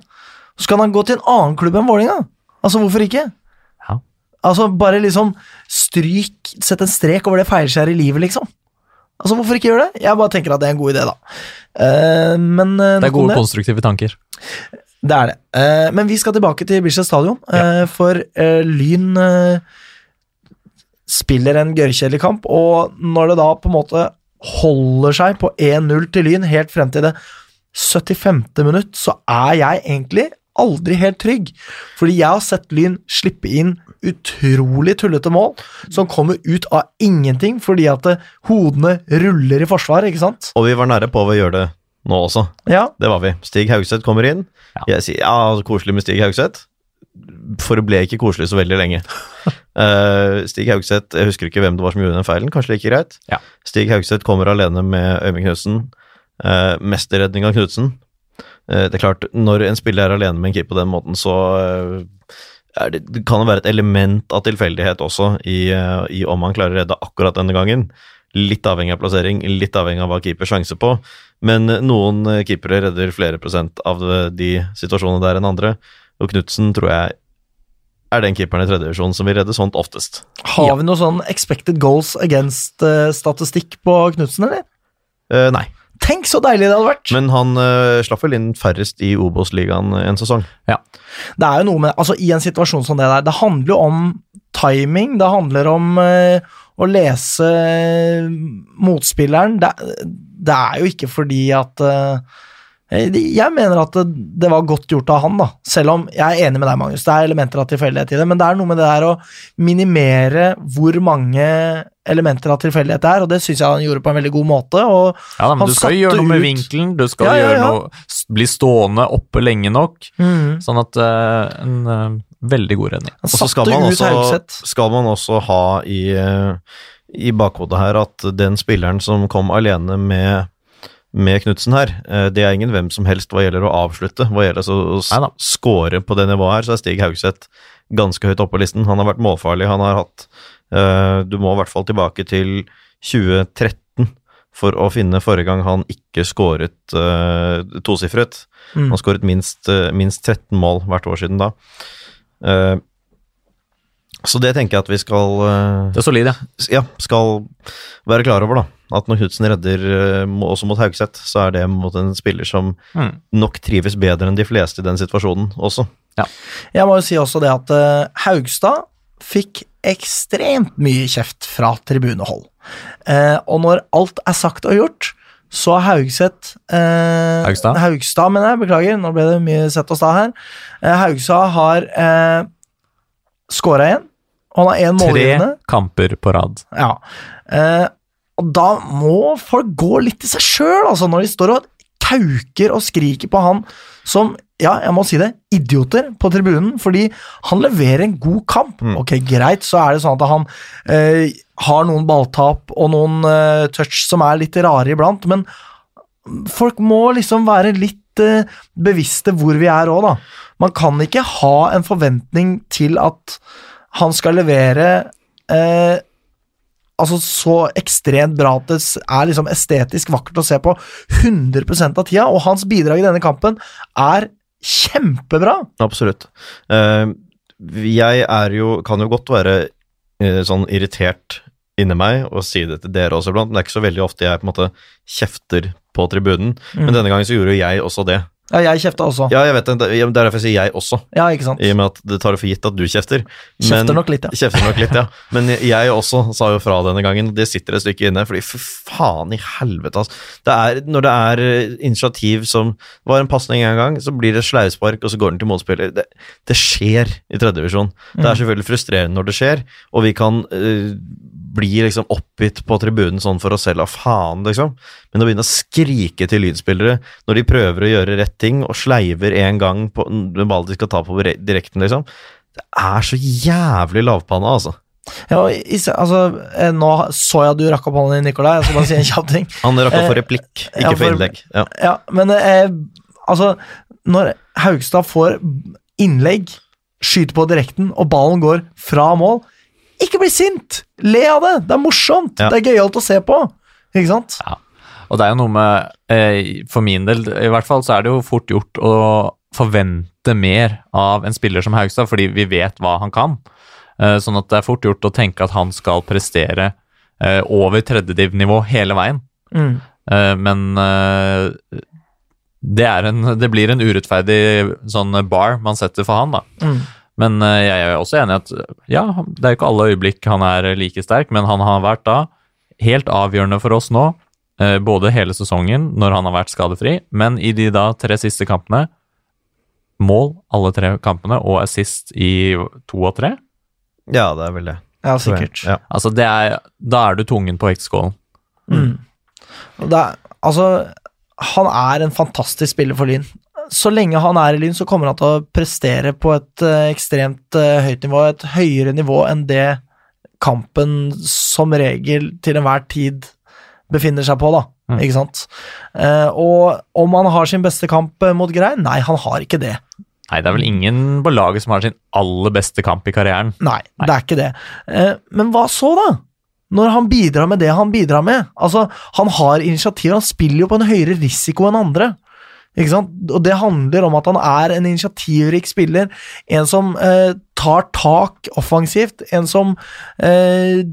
Speaker 1: Så kan han gå til en annen klubb enn Vålinga. Altså, hvorfor ikke?
Speaker 2: Ja.
Speaker 1: Altså, bare liksom stryk, sett en strek over det feilskjæret i livet, liksom. Altså, hvorfor ikke gjøre det? Jeg bare tenker at det er en god idé, da. Eh, men eh, nok
Speaker 2: Det er
Speaker 1: om
Speaker 2: gode, konstruktive tanker.
Speaker 1: det er det. Eh, men vi skal tilbake til Bislett Stadion, eh, for eh, Lyn eh, spiller en gørrkjedelig kamp, og når det da på en måte holder seg på 1-0 til Lyn helt frem til det 75. minutt, så er jeg egentlig aldri helt trygg. Fordi jeg har sett Lyn slippe inn utrolig tullete mål som kommer ut av ingenting fordi at eh, hodene ruller i forsvaret, ikke sant?
Speaker 3: Og vi var nære på å gjøre det nå også.
Speaker 1: Ja.
Speaker 3: Det var vi. Stig Haugseth kommer inn.
Speaker 2: Ja.
Speaker 3: Jeg sier ja, så koselig med Stig Haugseth. Forble ikke koselig så veldig lenge. Eh, Stig Haugseth, jeg husker ikke hvem det var som gjorde den feilen, kanskje like greit.
Speaker 2: Ja.
Speaker 3: Stig Haugseth kommer alene med Øyvind Knutsen. Uh, mesterredning av Knutsen. Eh, det er klart, når en spiller er alene med en keeper på den måten, så eh, er det, det kan det være et element av tilfeldighet også i, eh, i om han klarer å redde akkurat denne gangen. Litt avhengig av plassering, litt avhengig av hva keeper sjanser på. Men eh, noen eh, keepere redder flere prosent av eh, de situasjonene der enn andre. Og Knutsen tror jeg er den keeperen i tredje divisjon som vil redde sånt oftest.
Speaker 1: Har vi noe sånn expected goals against-statistikk på Knutsen, eller?
Speaker 3: Eh, nei,
Speaker 1: Tenk så deilig det hadde vært!
Speaker 3: men han eh, slapp vel inn færrest i Obos-ligaen en sesong.
Speaker 1: Det er jo noe med, altså I en situasjon som det der, det handler jo om timing. Det handler om eh, å lese eh, motspilleren. Det, det er jo ikke fordi at eh, Jeg mener at det, det var godt gjort av han, da. Selv om jeg er enig med deg, Magnus. Det er elementer av tilfeldighet i det, men det er noe med det der å minimere hvor mange elementer av tilfeldighet det er, og det syns jeg han gjorde på en veldig god måte. og
Speaker 2: Ja, da, men
Speaker 1: Han
Speaker 2: du skal
Speaker 1: satte
Speaker 2: gjøre noe med
Speaker 1: ut-
Speaker 2: vinkelen, du skal
Speaker 1: Ja, ja, Mm.
Speaker 2: gjøre
Speaker 1: ja.
Speaker 2: noe, s- bli stående oppe lenge nok. Sånn at eh, en eh, veldig god redning.
Speaker 1: Han
Speaker 3: Og så skal
Speaker 1: satte
Speaker 3: man,
Speaker 1: ut
Speaker 3: også,
Speaker 1: Haugseth.
Speaker 3: skal man også ha i, eh, i bakhodet her at den spilleren som kom alene med, med Knutsen her, eh, det er ingen hvem som helst hva gjelder å avslutte. Hva gjelder altså å s-
Speaker 2: Neida.
Speaker 3: score på det nivået her, så er Stig Haugseth ganske høyt oppe på listen. Han har vært målfarlig, han har hatt eh, Du må i hvert fall tilbake til 2013 for å finne forrige gang han ikke skåret uh, tosifret.
Speaker 1: Mm.
Speaker 3: Han har skåret minst, eh, minst 13 mål hvert år siden da. Eh, Så det tenker jeg at vi skal, eh,
Speaker 2: Det er solid, ja.
Speaker 3: s- ja, skal være klar over, da. At når Knutsen redder eh, mo- også mot Haugseth, så er det mot en spiller som
Speaker 2: Mm.
Speaker 3: nok trives bedre enn de fleste i den situasjonen også.
Speaker 1: Jeg må jo si også det at eh, Haugstad fikk ekstremt mye kjeft fra tribunehold. Eh, og når alt er sagt og gjort, så har Haugseth eh,
Speaker 2: Haugstad?
Speaker 1: Haugstad, mener jeg. Beklager, nå ble det mye sett og sta her. Eh, Haugstad har eh, scora igjen. og Han har én målgivende.
Speaker 2: Tre kamper på rad.
Speaker 1: Ja. Eh, og da må folk gå litt i seg sjøl, altså, når de står og kauker og skriker på han som ja, jeg må si det, idioter på tribunen, fordi han leverer en god kamp.
Speaker 3: Mm.
Speaker 1: Ok, greit, så er det sånn at han eh, har noen balltap og noen eh, touch som er litt rare iblant, men folk må liksom være litt eh, bevisste hvor vi er òg, da. Man kan ikke ha en forventning til at han skal levere eh, altså så ekstremt bra at det s- er liksom estetisk vakkert å se på 100 av tida, og hans bidrag i denne kampen er kjempebra.
Speaker 3: Absolutt. Eh, Jeg er jo, kan jo godt være eh, sånn irritert inni meg og si det til dere også iblant, men det er ikke så veldig ofte jeg på en måte kjefter på tribunen. Men denne gangen så gjorde jo jeg også det.
Speaker 1: Ja, jeg kjefta også. Ja,
Speaker 3: Ja, jeg vet det. Det er derfor jeg sier jeg også,
Speaker 1: ikke sant?
Speaker 3: i og med at det tar det for gitt at du kjefter. Men-
Speaker 1: Kjefter nok litt, ja.
Speaker 3: Kjefter nok litt, ja. Men jeg også sa jo fra denne gangen, og det sitter et stykke inne, fordi for faen i helvete, altså. Det er, når det er eh, initiativ som det var en pasning en gang, så blir det slauspark, og så går den til motspiller. Det, det skjer i tredje divisjon. Det
Speaker 1: Mm.
Speaker 3: er selvfølgelig frustrerende når det skjer, og vi kan eh, bli liksom oppgitt på tribunen sånn for oss selv, av faen, liksom. Men å begynne å skrike til lydspillere når de prøver å gjøre rett ting, og sleiver en gang på en ball de skal ta på re- direkten, liksom. Det er så jævlig lavpanna, altså.
Speaker 1: ja og i, se- altså, eh, nå så jeg at du rakk opp hånden din, Nikolai. Jeg skal bare si en kjapp ting.
Speaker 3: Han rakk opp for
Speaker 1: Eh,
Speaker 3: replikk, ikke
Speaker 1: ja,
Speaker 3: for
Speaker 1: for-
Speaker 3: innlegg. Ja.
Speaker 1: Ja, men eh, altså Når Haugstad får innlegg, skyter på direkten, og ballen går fra mål Ikke bli sint! Le av det! Det er morsomt!
Speaker 3: Ja.
Speaker 1: Det er gøyalt å se på. Ikke sant?
Speaker 2: Og det er jo noe med, eh, for min del, i hvert fall så er det jo fort gjort å forvente mer av en spiller som Haugstad, fordi vi vet hva han kan. Eh, sånn at det er fort gjort å tenke at han skal prestere eh, over tredjedivnivå hele veien.
Speaker 1: Mm.
Speaker 2: Eh, men eh, det, er en, det blir en urettferdig sånn bar man setter for han, da.
Speaker 1: Mm.
Speaker 2: Men eh, jeg er også enig i at ja, det er jo ikke alle øyeblikk han er eh, like sterk, men han har vært da helt avgjørende for oss nå, eh, både hele sesongen når han har vært skadefri, men i de da tre siste kampene mål alle tre kampene og assist i to og tre.
Speaker 3: Ja, det er vel det.
Speaker 1: Ja,
Speaker 3: tror jeg.
Speaker 1: sikkert.
Speaker 3: Ja.
Speaker 2: Altså, det er, da er du tungen på vektskålen.
Speaker 1: Mm. Og Det er, altså, han er en fantastisk spiller for Lyn. Så lenge han er i Lyn, så kommer han til å prestere på et eh, ekstremt eh, høyt nivå. Et høyere nivå enn det kampen som regel til enhver tid befinner seg på, da.
Speaker 2: Mm.
Speaker 1: Ikke sant? Eh, og om han har sin beste kamp eh, mot Grei? Nei, han har ikke det.
Speaker 2: Nei, det er vel ingen på laget som har sin aller beste kamp i karrieren.
Speaker 1: Nei, det er ikke det. Eh, Men hva så, da? Når han bidrar med det han bidrar med. Altså, Han har initiativ, han spiller jo på en høyere risiko enn andre. Ikke sant? Og det handler om at han er en initiativrik spiller. En som eh, tar tak offensivt. En som eh,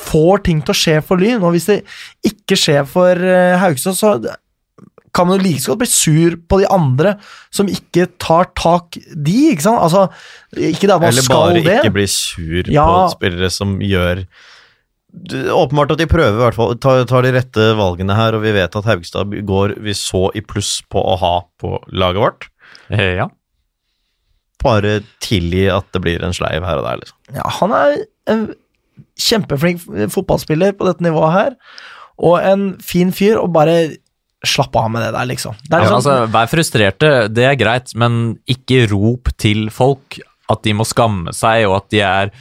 Speaker 1: får ting til å skje for Lyn. Og hvis det ikke skjer for eh, Haugesund, så kan man jo like så godt bli sur på de andre som ikke tar tak, de, ikke sant? Altså, ikke det at man
Speaker 3: Eller
Speaker 1: skal
Speaker 3: bare
Speaker 1: det.
Speaker 3: ikke bli sur
Speaker 1: Ja.
Speaker 3: på spillere som gjør Du- Åpenbart at de prøver, i hvert fall. Tar, tar de rette valgene her, og vi vet at Haugstad går vi så i pluss på å ha på laget vårt.
Speaker 2: Eh, Ja.
Speaker 3: Bare tilgi at det blir en sleiv her og der, liksom.
Speaker 1: Ja, han er en kjempeflink f- fotballspiller på dette nivået her, og en fin fyr, og bare slapp av med det der, liksom. Det er
Speaker 2: Ja, men
Speaker 1: liksom
Speaker 2: altså, vær frustrerte, det er greit, men ikke rop til folk at de må skamme seg, og at de er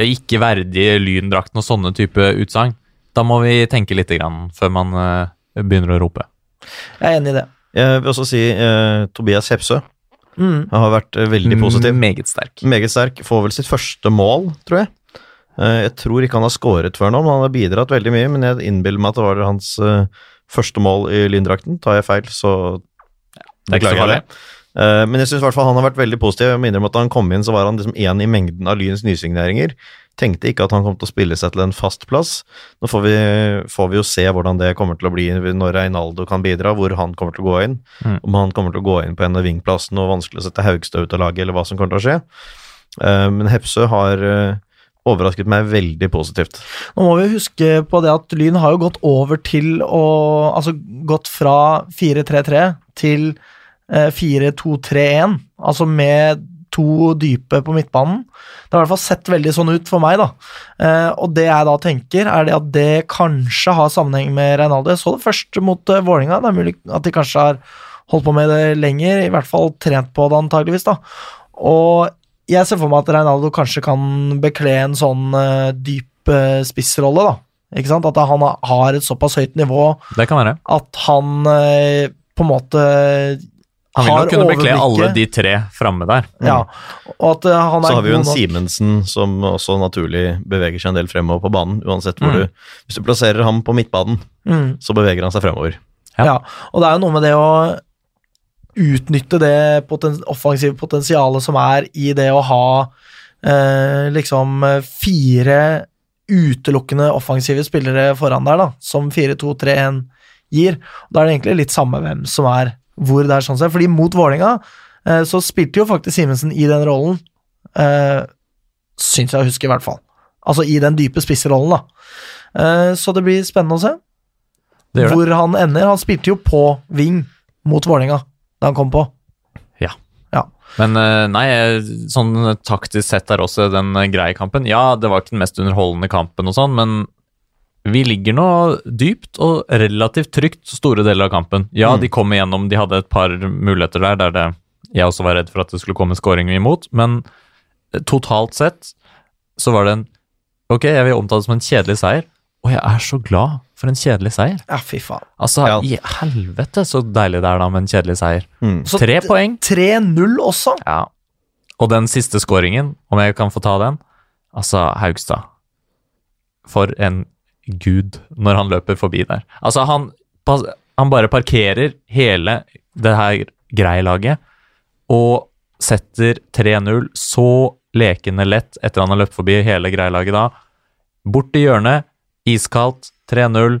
Speaker 2: ikke verdige lyndrakten og sånne type utsagn. Da må vi tenke litt grann før man eh, begynner å rope.
Speaker 1: jeg er enig i det.
Speaker 3: Jeg vil også si eh, Tobias Hepsø.
Speaker 1: Mm.
Speaker 3: Han har vært eh, veldig positiv.
Speaker 2: Meget sterk.
Speaker 3: Meget sterk. Får vel sitt første mål, tror jeg. Eh, Jeg tror ikke han har skåret før nå, men han har bidratt veldig mye. Men jeg innbiller meg at det var hans eh, første mål i lyndrakten. Tar jeg feil, så
Speaker 2: Det er ikke så
Speaker 3: beklager jeg
Speaker 2: farlig.
Speaker 3: det. Eh, Men jeg syns i hvert fall han har vært veldig positiv. Jeg må innrømme at da han kom inn, så var han liksom én i mengden av Lyns nysigneringer. Tenkte ikke at han kom til å spille seg til en fast plass. Nå får vi, får vi jo se hvordan det kommer til å bli når Reinaldo kan bidra, hvor han kommer til å gå inn.
Speaker 2: Mm.
Speaker 3: Om han kommer til å gå inn på en av vingplassene og vanskelig å sette Haugstad ut av laget, eller hva som kommer til å skje. Eh, Men Hepsø har eh, overrasket meg veldig positivt.
Speaker 1: Nå må vi huske på det at Lyn har jo gått over til å Altså gått fra 4-3-3 til eh, 4-2-3-1, altså med to dype på midtbanen. Det har i hvert fall sett veldig sånn ut for meg, da. Eh, og det jeg da tenker, er det at det kanskje har sammenheng med Reinaldo. Jeg så det først mot eh, Vålinga, det er mulig at de kanskje har holdt på med det lenger, i hvert fall trent på det antageligvis, da. Og jeg ser for meg at Reinaldo kanskje kan bekle en sånn eh, dyp eh, spissrolle, da. Ikke sant? At han ha- har et såpass høyt nivå
Speaker 2: Det kan være.
Speaker 1: at han eh, på en måte
Speaker 2: Han vil nok kunne bekle alle
Speaker 1: overblikket.
Speaker 2: de Mm. tre framme der.
Speaker 1: Ja, og at eh, han er
Speaker 3: Så har vi jo
Speaker 1: god
Speaker 3: en
Speaker 1: nok-
Speaker 3: Simensen som også naturlig beveger seg en del fremover på banen, uansett hvor
Speaker 2: Mm.
Speaker 3: du Hvis du plasserer ham på midtbanen,
Speaker 1: Mm.
Speaker 3: så beveger han seg fremover.
Speaker 2: Ja.
Speaker 1: Ja, og det er jo noe med det å utnytte det poten offensive potensialet som er i det å ha eh, liksom eh, fire utelukkende offensive spillere foran der, da, som 4-2-3-1 gir. Da er det egentlig litt samme hvem som er hvor det er sånn sett, fordi mot Vålinga eh, så spilte jo faktisk Simensen i den rollen, eh, syns jeg å huske i hvert fall. Altså i den dype spissrollen, da. Eh, så det blir spennende å se
Speaker 2: Det gjør det.
Speaker 1: hvor han ender. Han spilte jo på wing mot Vålerenga da han kom på.
Speaker 2: Men eh, nei, eh, sånn taktisk sett er også den eh, greie kampen. Ja, det var ikke den mest underholdende kampen og sånn, men vi ligger nå dypt og relativt trygt store deler av kampen. Ja,
Speaker 3: Mm.
Speaker 2: de kom igjennom, de hadde et par muligheter der der det, jeg også var redd for at det skulle komme skåringer imot, men eh, totalt sett så var det en Ok, jeg vil omtale det som en kjedelig seier, og jeg er så glad for en kjedelig seier.
Speaker 1: Ja, fy faen.
Speaker 2: Altså,
Speaker 3: Ja.
Speaker 2: i helvete så deilig det er da med en kjedelig seier.
Speaker 3: Mm.
Speaker 1: Så
Speaker 2: Tre
Speaker 1: t-
Speaker 2: poeng.
Speaker 1: 3-0 også.
Speaker 2: Ja. Og den siste scoringen, om jeg kan få ta den Altså, Haugstad. For en gud når han løper forbi der. Altså, han, pas- han bare parkerer hele det her greie laget og setter 3-0 så lekende lett etter han har løpt forbi hele greie laget da. Bort i hjørnet, iskaldt, 3-0.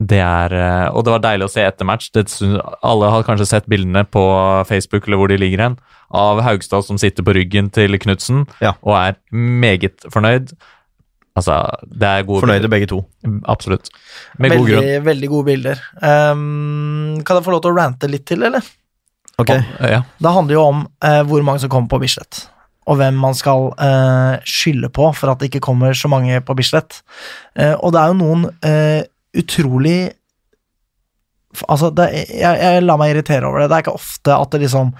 Speaker 2: Det er eh, Og det var deilig å se etter match. Det syns- alle har kanskje sett bildene på Facebook eller hvor de ligger hen, av Haugstad som sitter på ryggen til Knutsen
Speaker 3: Ja.
Speaker 2: og er meget fornøyd. Altså, det er gode
Speaker 3: Fornøyde begge to.
Speaker 2: Absolutt. Med god
Speaker 1: veldig,
Speaker 2: grunn.
Speaker 1: veldig gode bilder. Ehm, kan jeg få lov til å rante litt til, eller?
Speaker 3: Ok,
Speaker 2: Eh, Ja.
Speaker 1: Det handler jo om eh, hvor mange som kommer på Bislett, og hvem man skal eh, skylde på for at det ikke kommer så mange på Bislett. Eh, og det er jo noen eh, utrolig f- Altså, det, jeg, jeg lar meg irritere over det. Det er ikke ofte at det liksom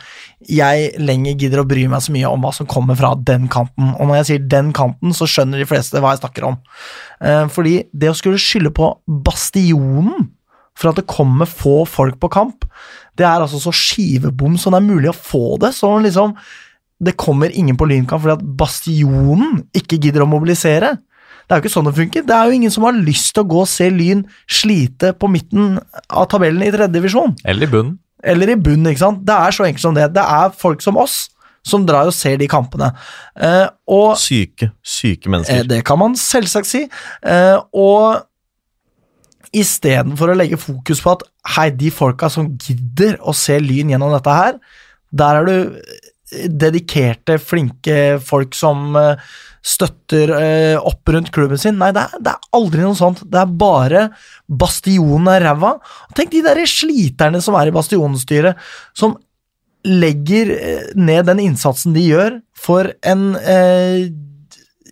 Speaker 1: jeg lenger gidder å bry meg så mye om hva som kommer fra den kanten. Og når jeg sier den kanten, så skjønner de fleste hva jeg snakker om. Eh, fordi det å skulle skylde på Bastionen for at det kommer få folk på kamp, det er altså så skivebom som det er mulig å få det. Så liksom Det kommer ingen på Lynkamp fordi at Bastionen ikke gidder å mobilisere. Det er jo ikke sånn det funker. Det er jo ingen som har lyst til å gå og se Lyn slite på midten av tabellen i tredje divisjon.
Speaker 2: Eller i bunnen.
Speaker 1: Eller i bunnen, ikke sant. Det er så enkelt som det. Det er folk som oss som drar og ser de kampene. Eh, og
Speaker 3: Syke, syke
Speaker 1: Eh,
Speaker 3: mennesker.
Speaker 1: Det kan man selvsagt si. Eh, og istedenfor å legge fokus på at hei, de folka som gidder å se Lyn gjennom dette her, der er du eh, dedikerte, flinke folk som eh, støtter eh, opp rundt klubben sin. Nei, det er, det er aldri noe sånt. Det er bare bastionen er ræva. Tenk de derre sliterne som er i bastionstyret, som legger eh, ned den innsatsen de gjør for en eh,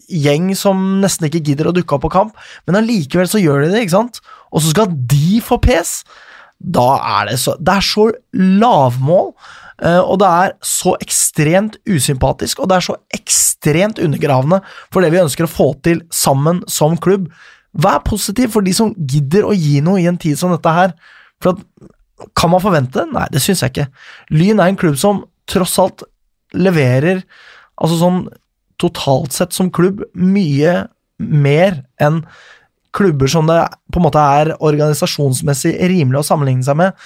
Speaker 1: gjeng som nesten ikke gidder å dukke opp på kamp, men allikevel så gjør de det, ikke sant? Og så skal de få pes! Da er det så Det er så lavmål, eh, og det er så ekstremt usympatisk, og det er så ekstremt undergravende for det vi ønsker å få til sammen som klubb. Vær positiv for de som gidder å gi noe i en tid som dette her. For at, kan man forvente det? Nei, det syns jeg ikke. Lyn er en klubb som tross alt leverer altså sånn totalt sett som klubb mye mer enn klubber som det på en måte er organisasjonsmessig rimelig å sammenligne seg med.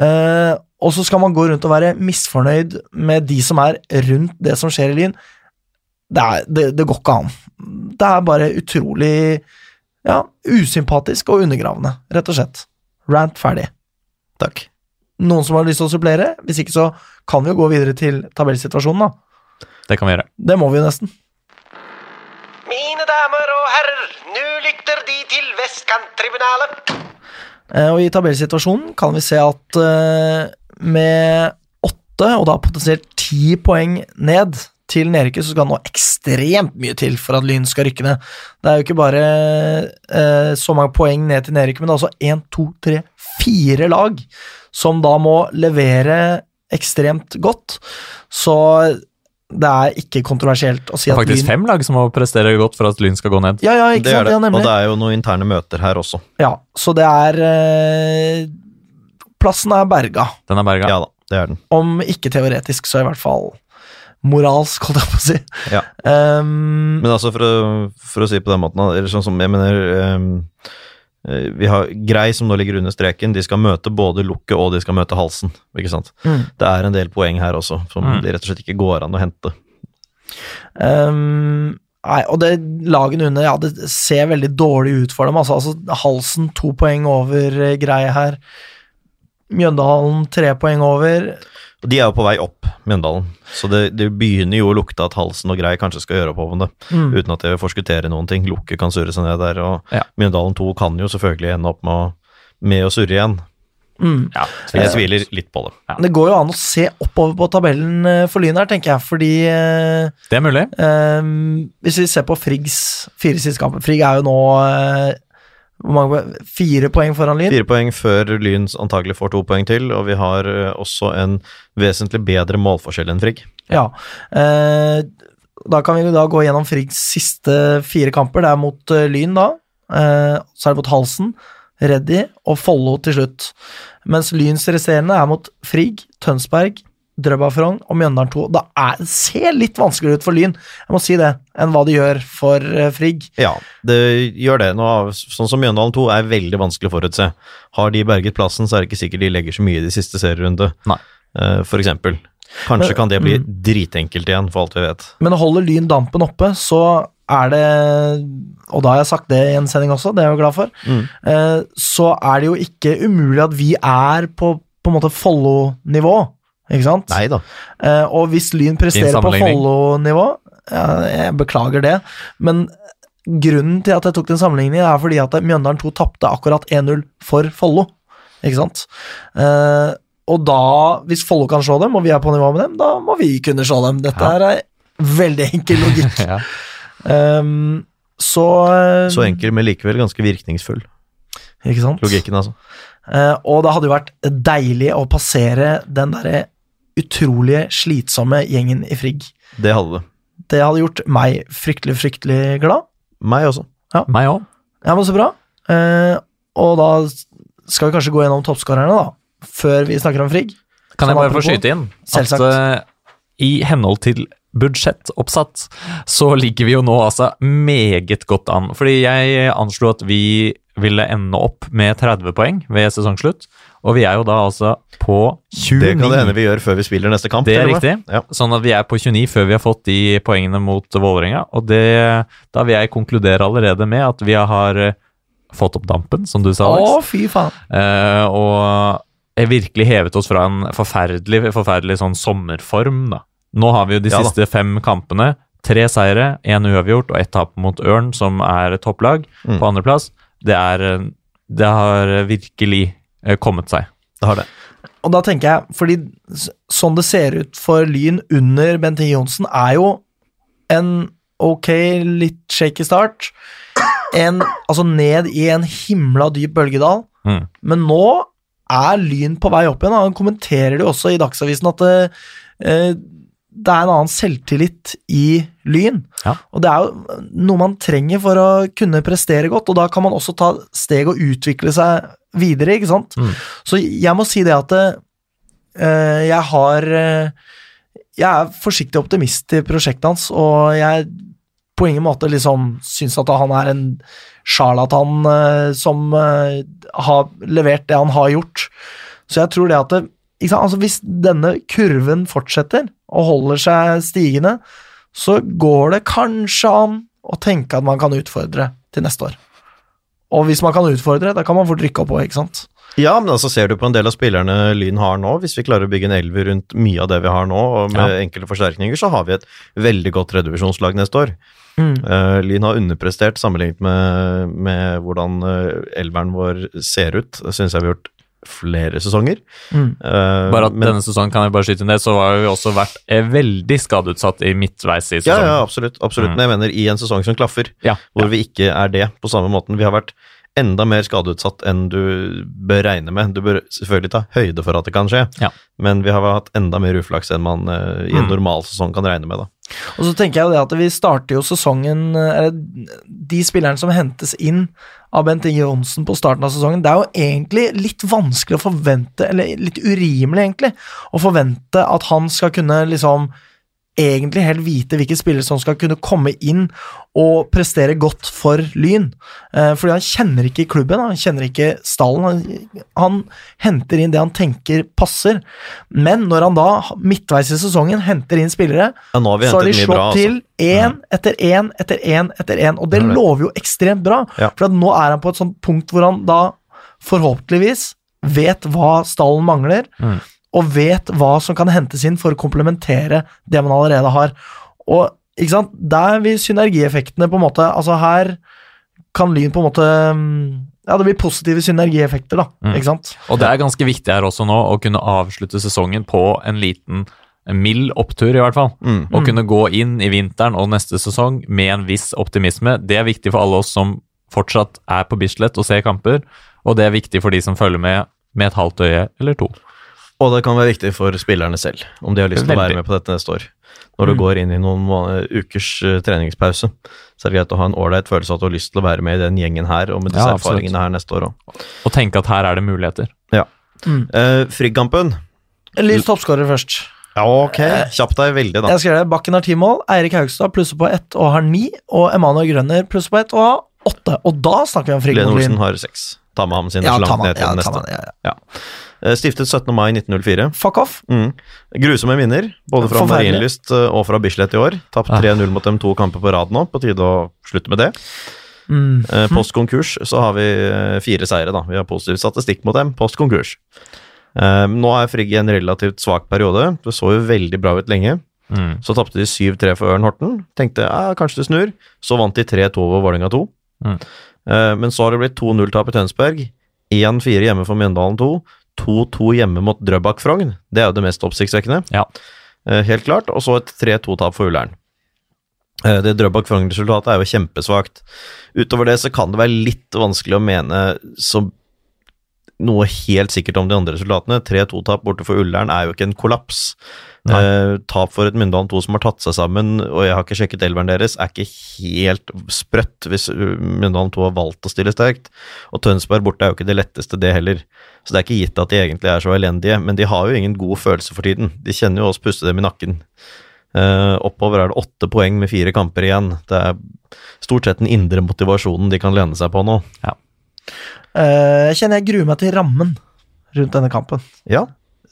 Speaker 1: Eh, og så skal man gå rundt og være misfornøyd med de som er rundt det som skjer i Lyn. Det, er, det, det går ikke an. Det er bare utrolig ja, usympatisk og undergravende, rett og slett. Rant ferdig.
Speaker 3: Takk.
Speaker 1: Noen som har lyst til å supplere? Hvis ikke så kan vi jo gå videre til tabellsituasjonen, da.
Speaker 2: Det kan vi gjøre.
Speaker 1: Det må vi jo nesten.
Speaker 5: Mine damer og herrer, nå lytter De til Vestkanttribunalet.
Speaker 1: Eh, Og i tabellsituasjonen kan vi se at eh, med åtte, og da potensielt ti poeng ned til nedrykket, så skal det nå ekstremt mye til for at Lyn skal rykke ned. Det er jo ikke bare eh, så mange poeng ned til nedrykket, men det er også én, to, tre, fire lag som da må levere ekstremt godt. Så det er ikke kontroversielt å si
Speaker 2: Det er
Speaker 1: at
Speaker 2: faktisk
Speaker 1: Lyn
Speaker 2: fem lag som må prestere godt for at Lyn skal gå ned.
Speaker 1: ja, ja, ikke
Speaker 3: Det er
Speaker 1: sant?
Speaker 3: det.
Speaker 1: Ja,
Speaker 3: Og
Speaker 1: nemlig.
Speaker 3: det er jo noen interne møter her også.
Speaker 1: Ja, så det er eh, Plassen er berga.
Speaker 2: Den er berga.
Speaker 3: Ja da, det er den.
Speaker 1: om ikke teoretisk, så i hvert fall moralsk, holdt jeg på å si.
Speaker 3: Ja.
Speaker 1: Ehm,
Speaker 3: Men altså, for å, for å si det på den måten, da, eller sånn som jeg mener ehm, eh, Vi har Grei, som nå ligger under streken, de skal møte både lukket og de skal møte halsen. Ikke sant?
Speaker 1: Mm.
Speaker 3: Det er en del poeng her også, som
Speaker 2: Mm.
Speaker 3: det rett og slett ikke går an å hente.
Speaker 1: ehm, nei, og det lagene under, ja, det ser veldig dårlig ut for dem. Altså, altså Halsen to poeng over eh, greie her. Mjøndalen tre poeng over.
Speaker 3: Og de er jo på vei opp, Mjøndalen. Så det, det begynner jo å lukte at halsen og Grei kanskje skal gjøre opp om det.
Speaker 1: Mm.
Speaker 3: Uten at jeg vil forskuttere noen ting. Lukket kan surre seg ned der, og
Speaker 2: Ja.
Speaker 3: Mjøndalen 2 kan jo selvfølgelig ende opp med å, med å surre igjen.
Speaker 1: Mm.
Speaker 2: Ja,
Speaker 3: Jeg tviler litt på det.
Speaker 1: Det går jo an å se oppover på tabellen eh, for Lyn her, tenker jeg, fordi eh,
Speaker 2: Det er mulig.
Speaker 1: Ehm, hvis vi ser på Friggs fire siste kamper Frigg er jo nå eh, hvor mange, poeng? fire poeng foran Lyn.
Speaker 3: Fire poeng før Lyn antagelig får to poeng til, og vi har eh, også en vesentlig bedre målforskjell enn Frigg.
Speaker 1: Ja. Eh, da kan vi jo da gå gjennom Friggs siste fire kamper. Det er mot eh, Lyn, da. Eh, så er det mot Halsen, Reddy og Follo til slutt. Mens Lyns resterende er mot Frigg, Tønsberg, Drøbak-Frogn og Mjøndalen 2. Da er, det ser litt vanskeligere ut for Lyn, jeg må si det, enn hva de gjør for eh, Frigg.
Speaker 3: Ja, det gjør det. Nå, av- sånn som Mjøndalen 2 er veldig vanskelig å forutse. Har de berget plassen, så er det ikke sikkert de legger så mye i de siste serierunde,
Speaker 2: Nei.
Speaker 3: Eh, for eksempel. Kanskje
Speaker 1: Men-
Speaker 3: kan det bli dritenkelt igjen, for alt vi vet.
Speaker 1: Men holder Lyn dampen oppe, så er det Og da har jeg sagt det i en sending også, det er jeg jo glad for.
Speaker 3: Mm.
Speaker 1: eh, Så er det jo ikke umulig at vi er på, på en måte Follo-nivå, ikke sant?
Speaker 3: Nei da.
Speaker 1: Eh, Og hvis Lyn presterer
Speaker 2: Fin
Speaker 1: på
Speaker 2: sammenligning.
Speaker 1: Follo-nivå ja, Jeg beklager det, men grunnen til at jeg tok den sammenligningen, er fordi at Mjøndalen 2 tapte akkurat 1-0 for Follo, ikke sant? Eh, Og da, hvis Follo kan slå dem, og vi er på nivå med dem, da må vi kunne slå dem. Dette
Speaker 2: Ja.
Speaker 1: her er veldig enkel logikk.
Speaker 2: Ja.
Speaker 1: Ehm, så, eh,
Speaker 3: Så enkel, men likevel ganske virkningsfull.
Speaker 1: Ikke sant?
Speaker 3: Logikken, altså.
Speaker 1: Eh, og det hadde jo vært deilig å passere den derre utrolige slitsomme gjengen i Frigg.
Speaker 3: Det hadde det.
Speaker 1: Det hadde gjort meg fryktelig, fryktelig glad.
Speaker 3: Meg også.
Speaker 2: Meg òg.
Speaker 1: Ja, men så bra. Eh, og da skal vi kanskje gå gjennom toppskårerne, da. Før vi snakker om Frigg. Sånn
Speaker 2: Kan jeg bare få
Speaker 1: apropos.
Speaker 2: skyte inn at
Speaker 1: Selvsagt.
Speaker 2: eh, i henhold til budsjettoppsatt, så ligger vi jo nå altså meget godt an. Fordi jeg eh, anslo at vi ville ende opp med 30 poeng ved sesongslutt, og vi er jo da altså på 29.
Speaker 3: Det kan det hende vi gjør før vi spiller neste kamp.
Speaker 2: Det er
Speaker 3: til og med.
Speaker 2: riktig.
Speaker 3: Ja.
Speaker 2: Sånn at vi er på 29 før vi har fått de poengene mot Vålerenga. Og det, da vil jeg konkludere allerede med at vi har eh, fått opp dampen, som du sa, Alex.
Speaker 1: Å, fy faen.
Speaker 2: Eh, og jeg virkelig hevet oss fra en forferdelig, forferdelig sånn sommerform. Da. Nå har vi jo de
Speaker 3: Ja da.
Speaker 2: siste fem kampene. Tre seire, én uavgjort og ett tap mot Ørn, som er topplag,
Speaker 3: Mm.
Speaker 2: på andreplass. Det, er, eh, det har virkelig eh, kommet seg.
Speaker 3: Det har det.
Speaker 1: Og da tenker jeg, fordi s- sånn det ser ut for Lyn under Bent Inge Johnsen, er jo en ok, litt shaky start. En, altså ned i en himla dyp bølgedal.
Speaker 2: Mm.
Speaker 1: Men nå er Lyn på vei opp igjen. og Han kommenterer det jo også i Dagsavisen at det, eh, det er en annen selvtillit i Lyn.
Speaker 2: Ja.
Speaker 1: Og det er jo noe man trenger for å kunne prestere godt, og da kan man også ta steg og utvikle seg videre, ikke sant?
Speaker 2: Mm.
Speaker 1: Så jeg må si det at eh, jeg har eh, Jeg er forsiktig optimist til prosjektet hans, og jeg på ingen måte liksom syns at han er en sjarlatan eh, som eh, har levert det han har gjort. Så jeg tror det at det, ikke sant? Altså, Hvis denne kurven fortsetter og holder seg stigende, så går det kanskje an å tenke at man kan utfordre til neste år. Og hvis man kan utfordre, da kan man fort rykke opp òg, ikke sant?
Speaker 3: Ja, men altså ser du på en del av spillerne Lyn har nå, hvis vi klarer å bygge en elver rundt mye av det vi har nå, og med enkelte forsterkninger, så har vi et veldig godt redivisjonslag neste år. Eh, Lyn har underprestert sammenlignet med, med hvordan eh, elveren vår ser ut, syns jeg vi har gjort flere sesonger.
Speaker 1: Mm.
Speaker 3: Eh,
Speaker 2: Bare at
Speaker 3: men-
Speaker 2: denne sesongen kan jeg bare skyte inn det, så har vi også vært eh, veldig skadeutsatt i midtveis i
Speaker 3: Ja, ja,
Speaker 2: sesongen.
Speaker 3: absolutt. absolutt.
Speaker 2: Mm.
Speaker 3: Men jeg mener i en sesong som klaffer,
Speaker 2: Ja,
Speaker 3: hvor vi ikke er det på samme måten. Vi har vært enda mer skadeutsatt enn du bør regne med. Du bør selvfølgelig ta høyde for at det kan skje,
Speaker 2: Ja.
Speaker 3: men vi har hatt enda mer uflaks enn man eh, i en
Speaker 2: Mm.
Speaker 3: normal sesong kan regne med. da.
Speaker 1: Og så tenker jeg jo det at vi starter jo sesongen eh, eller De spillerne som hentes inn av Bent Inge Johnsen på starten av sesongen, det er jo egentlig litt vanskelig å forvente, eller litt urimelig egentlig, å forvente at han skal kunne liksom egentlig helt vite hvilke spillere som skal kunne komme inn og prestere godt for Lyn. Eh, fordi han kjenner ikke klubben, han kjenner ikke stallen. Han, han henter inn det han tenker passer. Men når han da, midtveis i sesongen, henter inn spillere,
Speaker 3: Ja, nå har vi
Speaker 1: så har de
Speaker 3: hentet mye
Speaker 1: slått
Speaker 3: bra.
Speaker 1: til
Speaker 3: Altså.
Speaker 1: én etter én etter én etter én, og det
Speaker 3: Det er det.
Speaker 1: lover jo ekstremt bra.
Speaker 3: Ja.
Speaker 1: For at nå er han på et sånt punkt hvor han da forhåpentligvis vet hva stallen mangler,
Speaker 2: Mm.
Speaker 1: og vet hva som kan hentes inn for å komplementere det man allerede har. Og ikke sant, der vil synergieffektene på en måte Altså her kan Lyn på en måte mm, Ja, det blir positive synergieffekter, da.
Speaker 2: Mm.
Speaker 1: Ikke sant?
Speaker 2: Og det er ganske viktig her også nå å kunne avslutte sesongen på en liten en mild opptur, i hvert fall.
Speaker 3: Mm.
Speaker 2: Å
Speaker 1: Mm.
Speaker 2: kunne gå inn i vinteren og neste sesong med en viss optimisme, det er viktig for alle oss som fortsatt er på Bislett og ser kamper, og det er viktig for de som følger med med et halvt øye eller to.
Speaker 3: Og det kan være viktig for spillerne selv, om de har lyst til å
Speaker 2: Veldig.
Speaker 3: være med på dette neste år. Når du
Speaker 1: Mm.
Speaker 3: går inn i noen måneder, ukers eh, treningspause, så er det greit å ha en ålreit følelse av at du har lyst til å være med i den gjengen her, og med disse
Speaker 2: Ja, absolutt.
Speaker 3: erfaringene her neste år òg.
Speaker 2: Og tenke at her er det muligheter.
Speaker 3: Eh, Frigg-kampen.
Speaker 1: Lys toppskårer først.
Speaker 3: Ja, ok. Kjapp deg veldig, da.
Speaker 1: Jeg skrev det. Bakken har ti mål, Eirik Haugstad plusser på ett og har ni, og Emanuel Grønner plusser på ett og har åtte. Og da snakker vi om
Speaker 3: Lene Olsen
Speaker 1: Frigmolin.
Speaker 3: har seks. Ta med ham sine
Speaker 1: Ja,
Speaker 3: så
Speaker 1: ta
Speaker 3: langt ned
Speaker 1: man,
Speaker 3: til
Speaker 1: ja,
Speaker 3: den
Speaker 1: ta
Speaker 3: neste.
Speaker 1: man, ja, ja.
Speaker 3: Eh, Stiftet 17. mai 1904.
Speaker 1: Fuck off.
Speaker 3: Mm. Grusomme minner, både fra
Speaker 1: Forferdelig.
Speaker 3: Marienlyst eh, og fra Bislett i år. Tapt
Speaker 2: Ah.
Speaker 3: 3-0 mot dem to kamper på rad nå, på tide å slutte med det.
Speaker 1: Mm.
Speaker 3: Eh, Post konkurs så har vi eh, fire seire, da. Vi har positiv statistikk mot dem, post konkurs. Eh, Nå er Frigg i en relativt svak periode. Det så jo veldig bra ut lenge.
Speaker 2: Mm.
Speaker 3: Så tapte de 7-3 for Ørn Horten. Tenkte ja, kanskje det snur. Så vant de 3-2 over Vålerenga 2.
Speaker 2: Mm.
Speaker 3: Eh, men så har det blitt 2-0-tap i Tønsberg. 1-4 hjemme for Mjøndalen 2. 2-2 hjemme mot Drøbak Frogn. Det er jo det mest oppsiktsvekkende.
Speaker 2: Ja.
Speaker 3: Eh, Helt klart. Og så et 3-2-tap for Ullern. Eh, Det Drøbak Frogn-resultatet er jo kjempesvakt. Utover det så kan det være litt vanskelig å mene så noe helt sikkert om de andre resultatene. 3-2-tap borte for Ullern er jo ikke en kollaps.
Speaker 2: Nei.
Speaker 3: Eh, tap for et Myndal 2 som har tatt seg sammen, og jeg har ikke sjekket elveren deres, er ikke helt sprøtt hvis uh, Myndal 2 har valgt å stille sterkt. Og Tønsberg borte er jo ikke det letteste, det heller. Så det er ikke gitt at de egentlig er så elendige, men de har jo ingen god følelse for tiden. De kjenner jo oss puste dem i nakken. Eh, oppover er det åtte poeng med fire kamper igjen. Det er stort sett den indre motivasjonen de kan lene seg på nå.
Speaker 1: Eh, Jeg kjenner jeg gruer meg til rammen rundt denne kampen.
Speaker 3: Ja.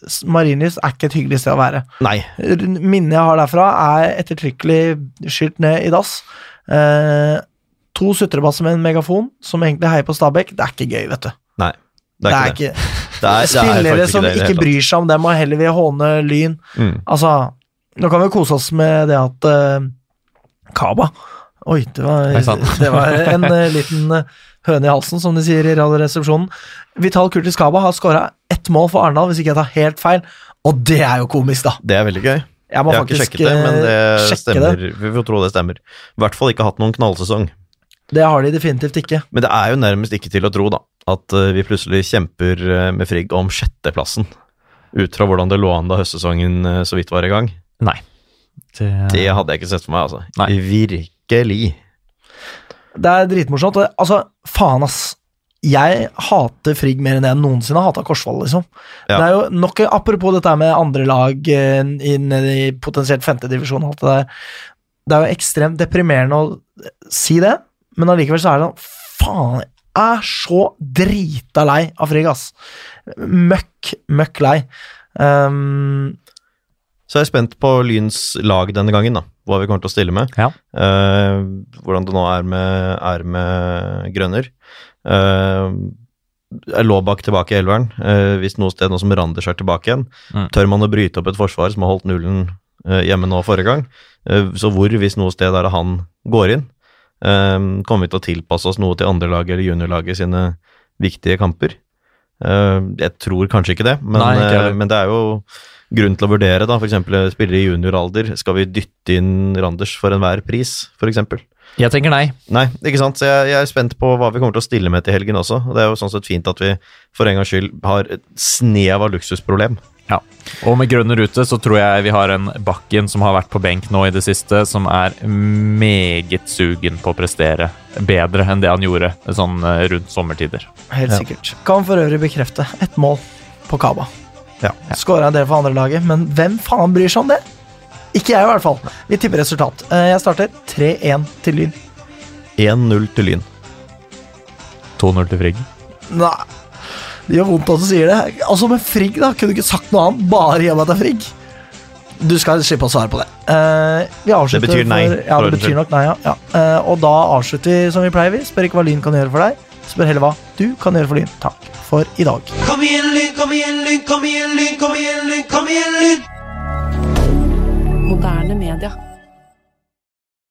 Speaker 1: S- Marienlyst er ikke et hyggelig sted å være.
Speaker 3: Nei.
Speaker 1: R- Minnet jeg har derfra, er ettertrykkelig skylt ned i dass. Eh, to sutrebasser med en megafon som egentlig heier på Stabæk. Det er ikke gøy, vet du.
Speaker 3: Nei. Det er, ikke det.
Speaker 1: ikke,
Speaker 3: det er, det er
Speaker 1: Spillere
Speaker 3: faktisk
Speaker 1: som
Speaker 3: det i det
Speaker 1: ikke,
Speaker 3: hele tatt.
Speaker 1: bryr seg om dem, og heller vil håne Lyn.
Speaker 3: Mm.
Speaker 1: Altså, nå kan vi kose oss med det at eh, Kaba Oi, det var,
Speaker 2: Nei, sant.
Speaker 1: det var en eh, liten eh, høne i halsen, som de sier i Radioresepsjonen. Vital Kurtis Kaba har skåra ett mål for Arendal, hvis ikke jeg tar helt feil. Og det er jo komisk, da!
Speaker 3: Det er veldig gøy.
Speaker 1: Jeg må
Speaker 3: jeg har ikke
Speaker 1: faktisk
Speaker 3: sjekket det, men
Speaker 1: eh,
Speaker 3: det
Speaker 1: sjekke
Speaker 3: stemmer.
Speaker 1: det.
Speaker 3: Vi får tro det stemmer. I hvert fall ikke hatt noen knallsesong.
Speaker 1: Det har de definitivt ikke.
Speaker 3: Men det er jo nærmest ikke til å tro, da, at eh, vi plutselig kjemper eh, med Frigg om sjetteplassen. Ut fra hvordan det lå an da høstsesongen eh, så vidt var i gang.
Speaker 2: Nei.
Speaker 3: Det hadde jeg ikke sett for meg, altså.
Speaker 2: Nei.
Speaker 3: Virkelig.
Speaker 1: Det er dritmorsomt. og det- Altså, faen, ass. Jeg hater Frigg mer enn jeg noensinne har hata Korsvoll, liksom.
Speaker 3: Ja.
Speaker 1: Det er jo nok Apropos dette her med andre lag eh, inn i potensielt femtedivisjon og alt det der. Det er jo ekstremt deprimerende å si det, men allikevel så er det sånn Faen, jeg er så drita lei av Frigg, ass. Møkk, møkk lei. Um,
Speaker 3: Så jeg er spent på Lyns lag denne gangen, da. Hva vi kommer til å stille med.
Speaker 2: Ja.
Speaker 3: Eh, hvordan det nå er med, er med Grønner. Eh, er Laabak tilbake i elveren? Eh, hvis noe sted nå som Randers er tilbake igjen.
Speaker 2: Mm.
Speaker 3: Tør man å bryte opp et forsvar som har holdt nullen eh, hjemme nå forrige gang? Eh, så hvor, hvis noe sted er det han går inn? Eh, kommer vi til å tilpasse oss noe til andrelaget eller juniorlaget sine viktige kamper? Eh, jeg tror kanskje ikke det, men,
Speaker 2: Nei, ikke heller.
Speaker 3: eh, men det er jo grunn til å vurdere, da, f.eks. spillere i junioralder. Skal vi dytte inn Randers for enhver pris, f.eks.?
Speaker 2: Jeg tenker nei.
Speaker 3: Nei, ikke sant. Så jeg, jeg er spent på hva vi kommer til å stille med til helgen også. Og det er jo sånn sett fint at vi for en gangs skyld har et snev av luksusproblem.
Speaker 2: Ja. Og med grønne rute så tror jeg vi har en Bakken som har vært på benk nå i det siste, som er meget sugen på å prestere bedre enn det han gjorde sånn eh, rundt sommertider.
Speaker 1: Helt
Speaker 3: Ja.
Speaker 1: sikkert. Kan for øvrig bekrefte ett mål på Kaba.
Speaker 3: Ja.
Speaker 1: Skåra en del for andrelaget, men hvem faen bryr seg om det? Ikke jeg, i hvert fall. Vi tipper resultat. Eh, Jeg starter 3-1 til Lyn.
Speaker 3: 1-0 til Lyn.
Speaker 2: 2-0 til Frigg.
Speaker 1: Nei. Det gjør vondt at du sier det. Altså Med Frigg, da. Kunne du ikke sagt noe annet? Bare gi meg til Frigg. Du skal slippe å svare på det. Eh, vi avslutter
Speaker 3: Det betyr nei,
Speaker 1: For, ja,
Speaker 3: for
Speaker 1: det
Speaker 3: ordens
Speaker 1: betyr
Speaker 3: skyld.
Speaker 1: nok nei, ja. ja. Eh, og da avslutter vi som vi pleier. Vi spør ikke hva Lyn kan gjøre for deg, spør heller hva du kan gjøre for Lyn. Takk for i dag.
Speaker 5: Kom igjen, Lyn, kom igjen, Lyn, kom igjen, Lyn, kom igjen, Lyn, kom igjen, Lyn!
Speaker 6: Moderne media.